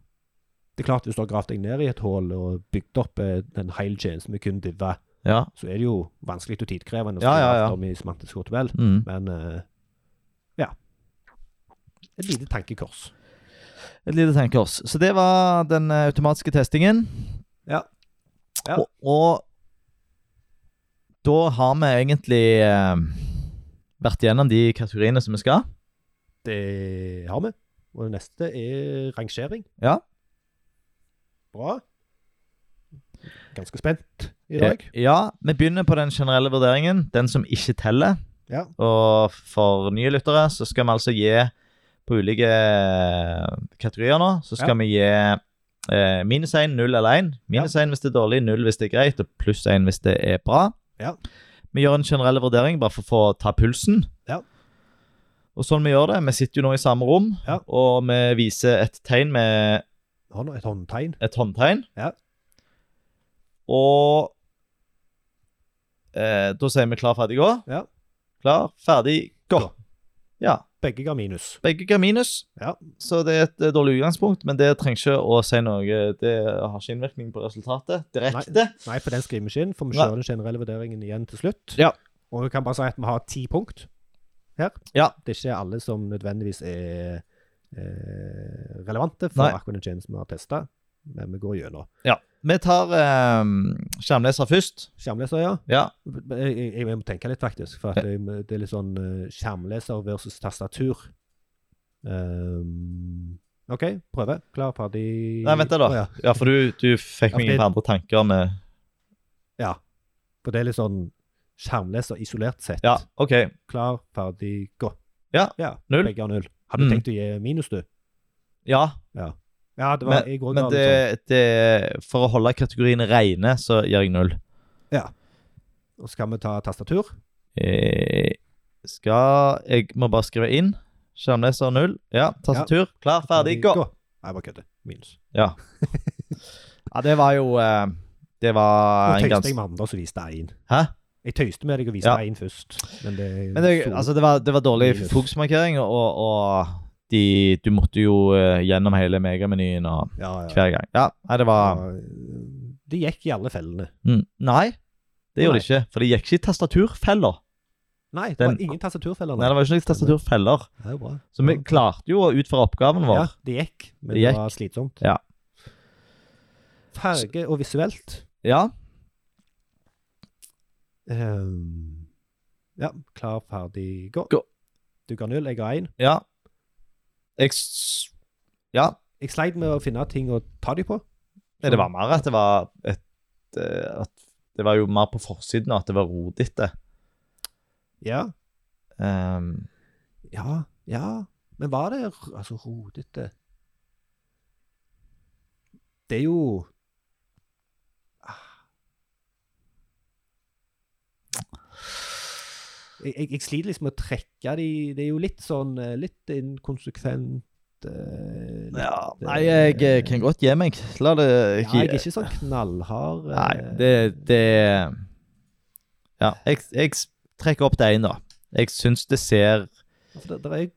S1: Det er klart, hvis du har gravd deg ned i et hull og bygd opp eh, en hel tjeneste med kun diva,
S2: ja.
S1: så er det jo vanskelig og tidkrevende å
S2: Ja,
S1: skrive
S2: ja, ja.
S1: alt om i semantisk HTML.
S2: Mm.
S1: Men eh, ja. Et lite tankekors.
S2: Et lite tankekors. Så det var den eh, automatiske testingen.
S1: Ja. Ja.
S2: Og, og da har vi egentlig eh, vært gjennom de kategoriene som vi skal.
S1: Det har vi. Og det neste er rangering.
S2: Ja.
S1: Bra. Ganske spent i dag.
S2: Eh, Ja, vi begynner på den generelle vurderingen, den som ikke teller.
S1: Ja.
S2: Og for nye lyttere så skal vi altså gi på ulike eh, kategorier nå, så skal
S1: Ja.
S2: vi gi eh, minus 1, 0 eller 1. Minus 1 hvis det er dårlig, 0 hvis det er greit, og pluss 1 hvis det er bra.
S1: Ja.
S2: Vi gjør en generell vurdering bare for å få ta pulsen.
S1: Ja.
S2: Og sånn vi gjør det, vi sitter jo nå i samme rom,
S1: Ja.
S2: og vi viser et tegn med
S1: Hånd, et håndtegn.
S2: et håndtegn.
S1: Ja.
S2: Og eh, da sier vi klar, ferdig, gå.
S1: Ja.
S2: Klar, ferdig, gå.
S1: Gå.
S2: Ja.
S1: Begge ga minus.
S2: Begge ga minus,
S1: Ja.
S2: så det er et eh, dårlig utgangspunkt. Men det trenger ikke å si noe. Det har ikke innvirkning på resultatet direkte.
S1: Nei, for den skriver vi ikke inn. For vi
S2: Nei.
S1: kjører den generelle vurderingen igjen til slutt.
S2: Ja.
S1: Og vi kan bare si at vi har ti punkt her.
S2: Ja.
S1: Det er ikke alle som nødvendigvis er eh, relevante for
S2: Nei.
S1: akkurat den tjenesten vi har testa, men vi går gjennom.
S2: Vi tar eh, skjermleser først.
S1: Skjermleser, ja.
S2: Ja.
S1: Jeg, jeg, jeg må tenke litt, faktisk. For at jeg, det er litt sånn eh, skjermleser versus tastatur. Ehm, OK, prøve. Klar, ferdig
S2: Nei, vent da, da.
S1: Å, ja.
S2: ja, for du, du fikk
S1: Ja,
S2: meg
S1: for det-
S2: inn på andre tanker med
S1: ja. For det er litt sånn skjermleser isolert sett.
S2: Ja, OK.
S1: Klar, ferdig, gå.
S2: Ja, null.
S1: Begge har null. Hadde
S2: Mm.
S1: du tenkt å gi minus, du?
S2: Ja,
S1: Ja, det var,
S2: Men-
S1: jeg går
S2: men
S1: av
S2: det,
S1: sånn.
S2: det For å holde kategorien reine, så gir jeg null.
S1: Og så kan vi ta tastatur.
S2: Eh, skal Jeg må bare skrive inn. Skjermleser null. Ja, tastatur. Klar, ferdig, gå.
S1: Nei, jeg bare kødder. Minus.
S2: Ja, det var jo eh, Det
S1: Nå
S2: var en
S1: tøyste jeg
S2: ganske
S1: med andre, og så viste jeg én.
S2: Hæ?
S1: Jeg tøyste med deg og viste
S2: Ja.
S1: deg én først. Men det,
S2: Men det,
S1: så-
S2: altså, det, var, det var dårlig
S1: Minus.
S2: fokusmarkering, og, og de, du måtte jo eh, gjennom hele megamenyen og
S1: ja, ja.
S2: hver gang. Ja, nei, det var
S1: Ja, Det eh, gikk i alle fellene.
S2: mm, Nei, det gjorde det ikke. For det gikk ikke i tastaturfeller.
S1: Nei, det
S2: Den-
S1: var ingen tastaturfeller.
S2: Nei, det var ikke noen tastaturfeller.
S1: Det er jo bra.
S2: Så vi klarte jo å utføre oppgaven
S1: Ja,
S2: vår.
S1: det gikk, men
S2: Det
S1: det,
S2: gikk.
S1: var slitsomt.
S2: Ja.
S1: Farge og visuelt
S2: Ja.
S1: Ehm, Ja, klar, ferdig, gå.
S2: Gå.
S1: Du ga null, jeg ga én.
S2: Ja. Jeg s- Ja.
S1: Jeg sleit med å finne ting å ta dem på.
S2: Nei, det var mer at det var et eh, at Det var jo mer på forsiden, og at det var rodete.
S1: Ja,
S2: Ehm,
S1: ja, ja. Men var det r- altså rodete? Det er jo Ah. jeg, jeg, jeg sliter liksom med å trekke de Det er jo litt sånn eh, Litt inkonsekvent eh, litt,
S2: ja,
S1: eh,
S2: nei, jeg eh, kan godt gi meg. La det
S1: ja, Jeg er ikke sånn knallhard. eh,
S2: Nei, det, det Ja, jeg, jeg s- trekker opp det ene, da. Jeg syns det ser
S1: altså, det, det er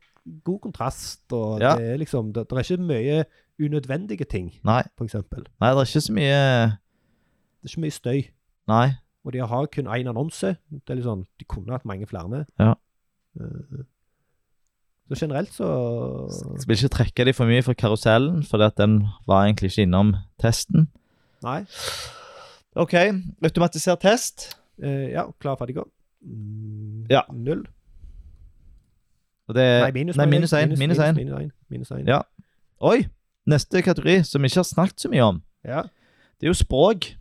S1: god kontrast, og
S2: Ja.
S1: det er liksom det, det er ikke mye unødvendige ting,
S2: Nei,
S1: for eksempel.
S2: nei, det er ikke så mye
S1: Det er ikke mye støy.
S2: Nei.
S1: Og de har kun én annonse. Det er litt sånn, De kunne hatt mange flere.
S2: Ja.
S1: Eh, Så generelt så
S2: Jeg vil ikke trekke de for mye fra karusellen, for den var egentlig ikke innom testen.
S1: Nei.
S2: OK, automatisert test.
S1: Eh, ja, klar, ferdig, gå. Mm,
S2: Ja.
S1: Null.
S2: Og det
S1: Nei, minus
S2: nei,
S1: mener jeg.
S2: minus én. Minus én.
S1: Minus én. Minus én.
S2: Ja. Oi! Neste kategori, som vi ikke har snakket så mye om,
S1: Ja.
S2: det er jo språk.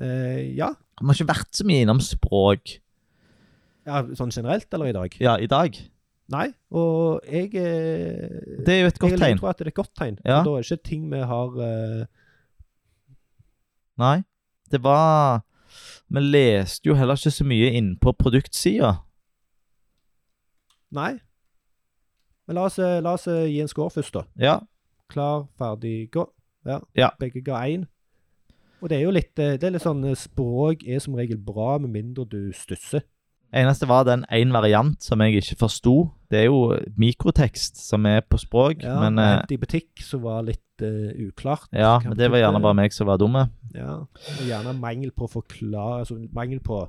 S1: Eh, ja.
S2: Vi har ikke vært så mye innom språk
S1: ja. Sånn generelt, eller i dag?
S2: ja, i dag.
S1: Nei. Og jeg eh,
S2: Det er jo et godt
S1: Jeg
S2: tegn.
S1: tror at det er et godt tegn.
S2: Ja.
S1: For Da er det ikke ting vi har eh,
S2: Nei, det var Vi leste jo heller ikke så mye inn på produktsida.
S1: Nei. Men la oss, eh, la oss eh, gi en score først, da.
S2: Ja.
S1: Klar, ferdig, gå. Ja.
S2: Ja.
S1: Begge ga én. Og det er jo litt eh, Det er litt sånn eh, Språk er som regel bra, med mindre du stusser.
S2: Eneste var den én variant som jeg ikke forsto. Det er jo mikrotekst som er på språk,
S1: Ja,
S2: men eh,
S1: I butikk så var litt eh, uklart.
S2: ja,
S1: Hva
S2: men det var gjerne
S1: betyr
S2: bare meg som var dumme.
S1: Ja. Og gjerne mangel på forklare Altså mangel på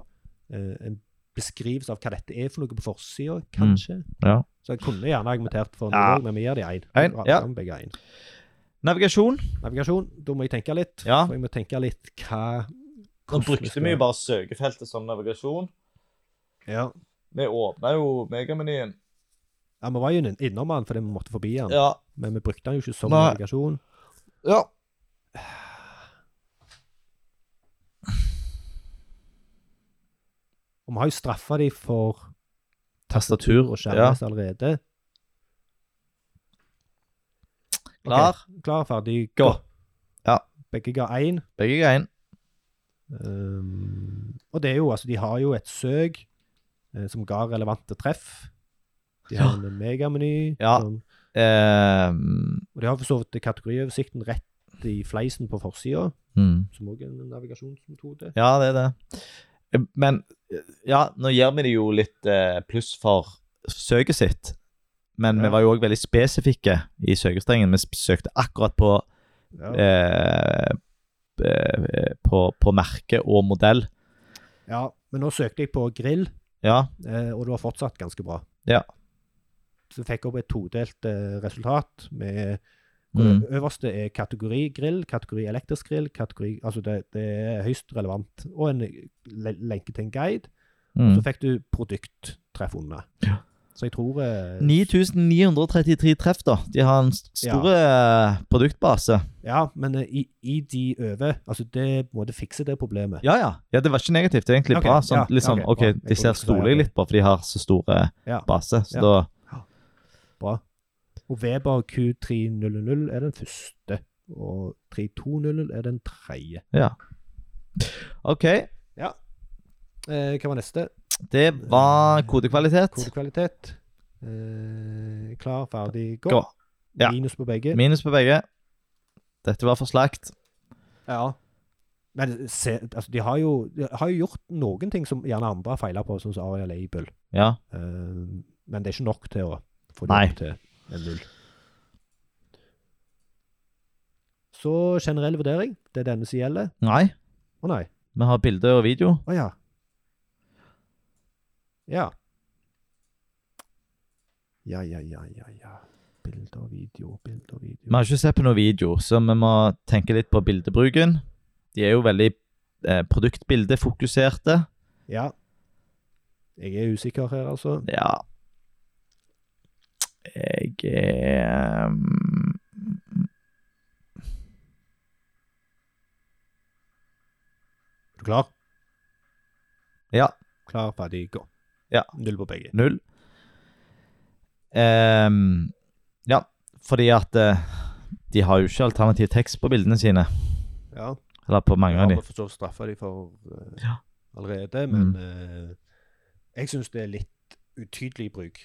S1: eh, en beskrivelse av hva dette er for noe på forsida, kanskje.
S2: Mm. ja.
S1: Så jeg kunne gjerne argumentert for noe,
S2: Ja.
S1: men vi gir de én.
S2: En, ja.
S1: Begge én.
S2: Navigasjon.
S1: Navigasjon, da må jeg tenke litt.
S2: Ja.
S1: For jeg må tenke litt hva
S2: Nå
S1: hvordan vi
S2: brukte
S1: skal-
S2: vi jo bare søkefeltet som navigasjon.
S1: ja.
S2: Vi åpna jo megamenyen.
S1: ja, vi var jo inn- innom den fordi vi måtte forbi den.
S2: Ja.
S1: Men vi brukte den jo ikke som
S2: Nei.
S1: navigasjon.
S2: Ja.
S1: Og vi har jo straffa de for
S2: Tastatur
S1: og skjermløst allerede. Ok,
S2: Klar.
S1: Klar, ferdig,
S2: Gå.
S1: gå.
S2: Ja.
S1: Begge ga én.
S2: Begge ga inn.
S1: Um, og det er jo, altså, de har jo et søk eh, som ga relevante treff. De har en megameny.
S2: Ja.
S1: som-
S2: Eh,
S1: og de har for så vidt kategorioversikten rett i fleisen på forsida,
S2: mm.
S1: som òg er en navigasjonsmetode.
S2: Ja, det er det. Men ja, nå gir vi det jo litt eh, pluss for søket sitt. Men
S1: Ja.
S2: vi var jo òg veldig spesifikke i søkestrengen. Vi sp- søkte akkurat på,
S1: Ja.
S2: eh, eh, på, på merke og modell.
S1: ja, men nå søkte jeg på grill,
S2: Ja.
S1: eh, og det var fortsatt ganske bra.
S2: Ja.
S1: Så fikk jeg opp et todelt eh, resultat med hvor
S2: Mm.
S1: det øverste er kategori grill, kategori elektrisk grill, kategori Altså, det, det er høyst relevant. Og en le- lenke til en guide.
S2: Mm.
S1: Så fikk du produkttreff under.
S2: Ja.
S1: Så jeg tror eh,
S2: 9933 treff, da. De har en s- stor eh, produktbase.
S1: Ja, men eh, i, i de over Altså, det må det fikse det problemet.
S2: Ja, ja. ja det var ikke negativt. Det er egentlig
S1: Ok,
S2: bra. Sånn,
S1: ja,
S2: litt sånn,
S1: ok,
S2: OK,
S1: bra.
S2: de
S1: Jeg trodde du skulle
S2: ser
S1: si at
S2: stoler
S1: det-
S2: litt på, for de har så stor eh,
S1: Ja.
S2: base. Så
S1: Ja.
S2: da
S1: Bra. Og Weber Q300 er den første. Og 3200 er den tredje.
S2: OK.
S1: Eh, hva var neste?
S2: Det var kodekvalitet.
S1: Kodekvalitet. Eh, klar, ferdig, gå.
S2: Gå. Ja.
S1: Minus på begge.
S2: Minus på begge. Dette var for slakt.
S1: Ja. Men se, altså, de, har jo, de har jo gjort noen ting som gjerne andre har feila på, sånn som Aria Label.
S2: Ja.
S1: Eh, men det er ikke nok til å få det
S2: Nei.
S1: opp til en null. Så generell vurdering. Det er denne som gjelder.
S2: Nei.
S1: Å nei.
S2: Vi har bilde og video.
S1: Å ja. Ja. Ja, ja, ja, ja, ja. Bilde og video, bilde og video.
S2: Vi har ikke sett på noe video, så vi må tenke litt på bildebruken. De er jo veldig eh, produktbildefokuserte.
S1: Ja. Jeg er usikker her, altså.
S2: Ja Jeg er mm,
S1: Er du klar?
S2: Ja.
S1: Klar, ferdig, gå.
S2: Ja.
S1: Null på begge.
S2: null. Ehm, ja, fordi at eh, de har jo ikke alternativ tekst på bildene sine.
S1: Ja.
S2: Eller på mange av
S1: har
S2: de.
S1: vi for så vidt straffa de for eh,
S2: Ja. Mm.
S1: allerede, men eh, jeg syns det er litt utydelig bruk.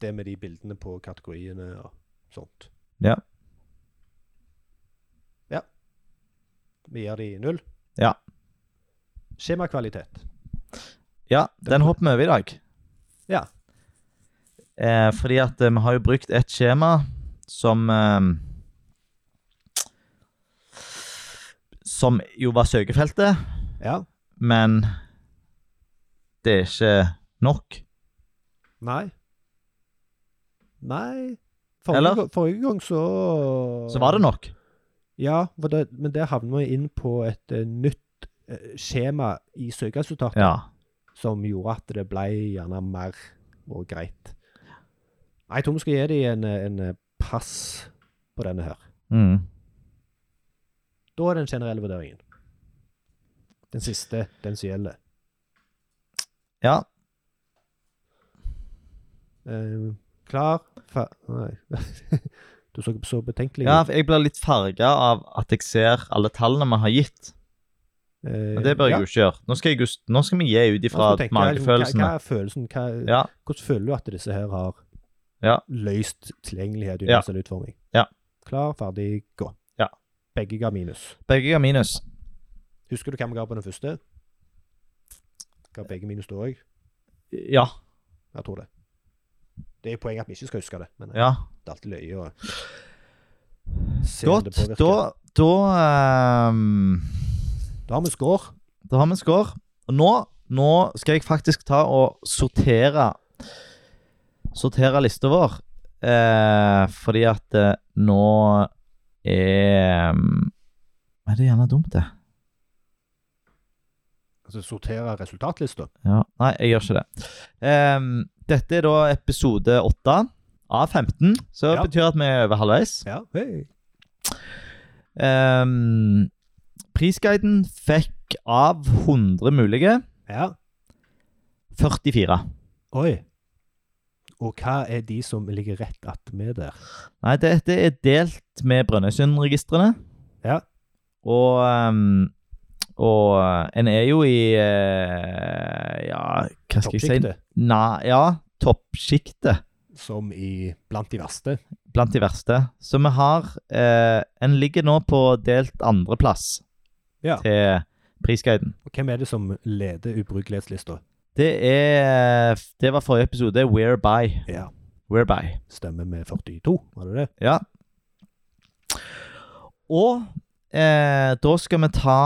S1: Det med de bildene på kategoriene og sånt.
S2: Ja.
S1: Ja. Vi gir de null.
S2: Ja.
S1: Skjemakvalitet.
S2: Ja, den hopper vi over i dag.
S1: Ja.
S2: Eh, fordi at eh, vi har jo brukt et skjema som eh, Som jo var søkefeltet,
S1: Ja.
S2: men det er ikke nok.
S1: Nei. Nei.
S2: Eller?
S1: Forrige, gang- forrige gang så
S2: Så var det nok.
S1: Ja, for det, men der havner vi inn på et eh, nytt eh, skjema i søkeresultatet
S2: Ja.
S1: som gjorde at det ble gjerne mer og greit. Nei, jeg tror vi skal gi dem en, eh, en eh, pass på denne her.
S2: Mm.
S1: Da er den generelle vurderingen. Den siste, den som gjelder.
S2: Ja.
S1: Eh, klar, fa... Nei. <laughs> du så så betenkelig
S2: ja, for jeg blir litt farga av at jeg ser alle tallene vi har gitt.
S1: Eh,
S2: Men det bør jeg jo ikke gjøre. Nå skal, jeg, just- nå skal vi gi ut ifra magefølelsene.
S1: Altså, Hva, hva er følelsen? Hva,
S2: Ja.
S1: Hvordan føler du at disse her har
S2: Ja.
S1: løst tilgjengelighet i
S2: Ja.
S1: universell utforming?
S2: Ja.
S1: Klar, ferdig, gå.
S2: Ja.
S1: Begge ga minus.
S2: Begge ga minus.
S1: Husker du hva vi ga på den første? Ga begge minus da òg?
S2: Ja.
S1: Jeg tror det. Det er poenget at vi ikke skal huske det, men
S2: ja.
S1: det er alltid løye å se om det
S2: Godt.
S1: påvirker.
S2: Da, da ehm,
S1: Da har vi score.
S2: Da har vi en score. Og nå, nå skal jeg faktisk ta og sortere Sortere lista vår. Eh, fordi at eh, nå er ehm, Er det gjerne dumt, det?
S1: Altså sortere resultatlista.
S2: Ja. Nei, jeg gjør ikke det. Ehm, dette er da episode 8 av 15, så det
S1: Ja.
S2: betyr at vi er over halvveis. Eh,
S1: Ja. Hei.
S2: Ehm, prisguiden fikk av 100 mulige
S1: Ja.
S2: 44.
S1: Oi. Og hva er de som ligger rett attmed der?
S2: Nei, dette er delt med Brønnøysundregistrene.
S1: Ja.
S2: Og, ehm, og en er jo i eh, Ja, hva skal jeg si?
S1: Toppsjiktet.
S2: Nei, ja, toppsjiktet
S1: Som i blant de verste.
S2: blant de verste. Så vi har eh, En ligger nå på delt andreplass
S1: Ja.
S2: til prisguiden.
S1: Og hvem er det som leder ubrukelighetslista?
S2: Det er Det var forrige episode. Whereby.
S1: Ja.
S2: Whereby.
S1: Stemmer med 42, var det det?
S2: Ja. Og eh, da skal vi ta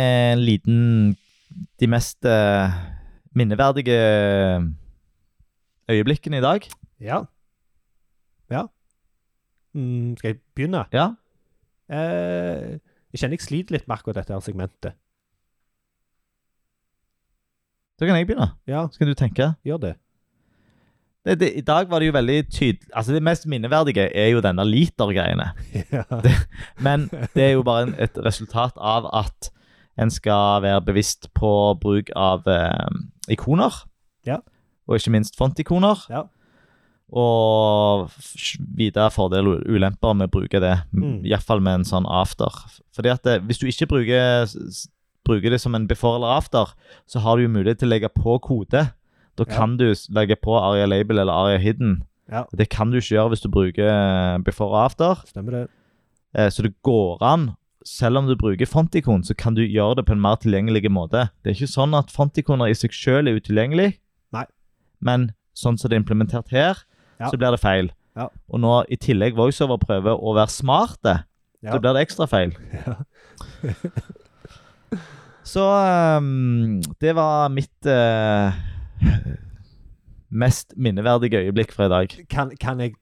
S2: en liten De mest eh, minneverdige øyeblikkene i dag.
S1: Ja. Ja. Mm, skal jeg begynne?
S2: Ja.
S1: Eh, jeg kjenner jeg sliter litt med akkurat dette her segmentet.
S2: Da kan jeg begynne.
S1: Ja,
S2: Skal du tenke?
S1: gjør
S2: <laughs>
S1: det.
S2: Det, det, I dag var det jo veldig tydelig Altså, det mest minneverdige er jo denne litergreiene.
S1: ja.
S2: Men det er jo bare en, et resultat av at en skal være bevisst på bruk av eh, ikoner.
S1: Ja.
S2: Og ikke minst fontikoner.
S1: Ja.
S2: Og f- vite fordeler og ulemper med å bruke det.
S1: Mm.
S2: Iallfall med en sånn after. Fordi at det, hvis du ikke bruker, s- s- bruker det som en before eller after, så har du jo mulighet til å legge på kode. Da
S1: Ja.
S2: kan du s- legge på aria label eller aria hidden.
S1: Ja.
S2: Det kan du ikke gjøre hvis du bruker eh, before og after.
S1: Stemmer det.
S2: Eh, Så det går an, selv om du bruker fontikon, så kan du gjøre det på en mer tilgjengelig måte. Det er ikke sånn at fontikoner i seg selv er utilgjengelig.
S1: Nei.
S2: Men sånn som det er implementert her,
S1: Ja.
S2: så blir det feil.
S1: Ja.
S2: Og nå i tillegg voiceover prøver å være smarte,
S1: Ja.
S2: så blir det ekstra feil.
S1: Ja.
S2: <laughs> så ehm, det var mitt eh, mest minneverdige øyeblikk fra i dag.
S1: Kan, kan jeg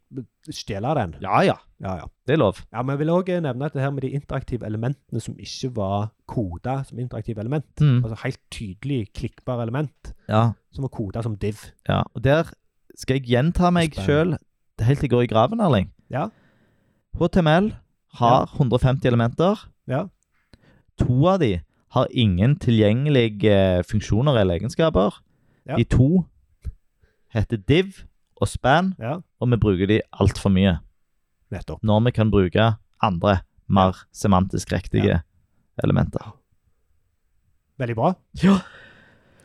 S1: stjele den?
S2: Ja, ja.
S1: Ja, ja.
S2: Det er lov.
S1: Ja, men Jeg vil òg nevne at det her med de interaktive elementene som ikke var koda som interaktive element,
S2: Mm.
S1: altså helt tydelig klikkbare element,
S2: Ja.
S1: som var koda som div.
S2: Ja, og der skal jeg gjenta meg sjøl
S1: Spennende.
S2: helt til jeg går i graven, Erling.
S1: Ja.
S2: HTML har 150 elementer.
S1: Ja.
S2: To av de har ingen tilgjengelige eh, funksjoner eller egenskaper.
S1: Ja.
S2: De to heter div og span,
S1: Ja,
S2: og vi bruker de altfor mye.
S1: nettopp.
S2: Når vi kan bruke andre, mer semantisk riktige elementer.
S1: Veldig bra.
S2: Ja.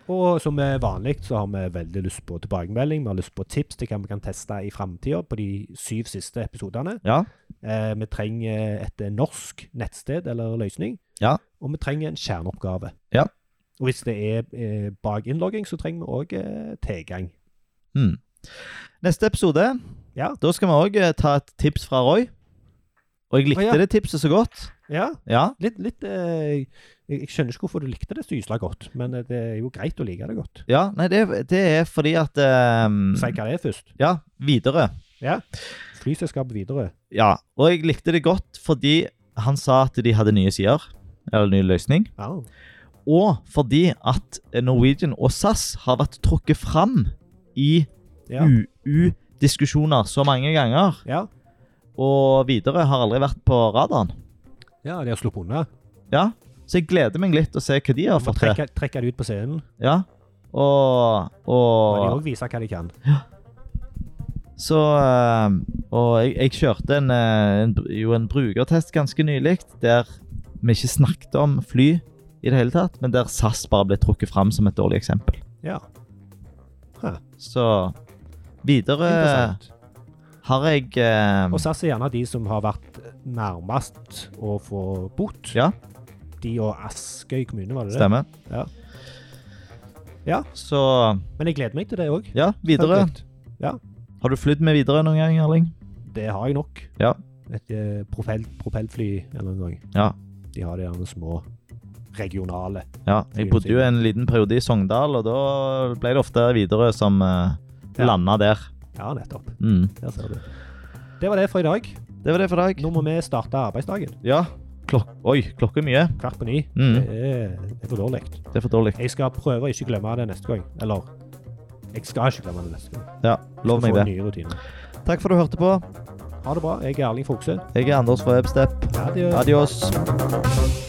S1: Og som er vanlig, så har vi veldig lyst på tilbakemelding. Vi har lyst på tips til hva vi kan teste i framtida på de syv siste episodene.
S2: Ja.
S1: Eh, vi trenger et eh, norsk nettsted eller løsning.
S2: Ja.
S1: Og vi trenger en kjerneoppgave.
S2: Ja.
S1: Og hvis det er eh, bak innlogging, så trenger vi òg eh, tilgang.
S2: Mm. Neste episode,
S1: Ja.
S2: da skal vi òg ta et tips fra Roy. Og jeg likte
S1: Å, ja.
S2: det tipset så godt.
S1: Ja,
S2: Ja,
S1: litt, litt eh, jeg, jeg skjønner ikke hvorfor du likte det så ysla godt, men eh, det er jo greit å like det godt.
S2: ja nei, det, er- det er fordi at ehm,
S1: Si hva det er først.
S2: Ja, videre.
S1: Flyselskapet videre.
S2: Ja, og jeg likte det godt fordi han sa at de hadde nye sider. Eller ny løsning.
S1: Ja.
S2: Og fordi at Norwegian og SAS har vært trukket fram i
S1: Ja.
S2: UU-diskusjoner så mange ganger.
S1: ja.
S2: Og videre har aldri vært på radaren.
S1: ja, de har sluppet unna.
S2: Ja, så jeg gleder meg litt å se hva de har
S1: Må
S2: fått til.
S1: trekke, trekke det ut på scenen.
S2: Ja. Og,
S1: Og de
S2: og
S1: òg viser hva de kan.
S2: Så eh, Og jeg, jeg kjørte en, eh, en, br- jo en brukertest ganske nylig der vi ikke snakket om fly i det hele tatt, men der SAS bare ble trukket fram som et dårlig eksempel.
S1: Ja.
S2: Så videre
S1: Interessant.
S2: har jeg eh,
S1: Og SAS er gjerne de som har vært nærmest å få bot.
S2: Ja.
S1: De og Askøy kommune, var det det?
S2: Stemmer.
S1: Ja. Ja.
S2: Så
S1: Men jeg gleder meg til det òg.
S2: ja, videre. Har du flydd med videre noen gang, Erling?
S1: Det har jeg nok.
S2: Ja.
S1: Et eh, propell, propellfly eller noen gang.
S2: Ja.
S1: De har de gjerne små regionale.
S2: Ja, jeg bodde jo en liten periode i Sogndal, og da ble det ofte videre som uh,
S1: Ja.
S2: landa der.
S1: Ja, nettopp.
S2: Mm.
S1: Der ser du. Det var det for i dag.
S2: Det var det for dag.
S1: Nå må vi starte arbeidsdagen.
S2: Ja. Klok Oi, klokka er mye.
S1: Kvart på ni.
S2: Mm.
S1: Det, er, det er for dårlig.
S2: Det er for dårlig.
S1: Jeg skal prøve å ikke glemme det neste gang. Eller jeg skal ikke glemme det neste gang.
S2: Ja, lov
S1: Skal
S2: meg
S1: få
S2: det.
S1: nye rutiner.
S2: Takk for du hørte på.
S1: Ha det bra. Jeg er Erling Fokse.
S2: Jeg er Anders fra Webstep.
S1: Adjø.
S2: Adios.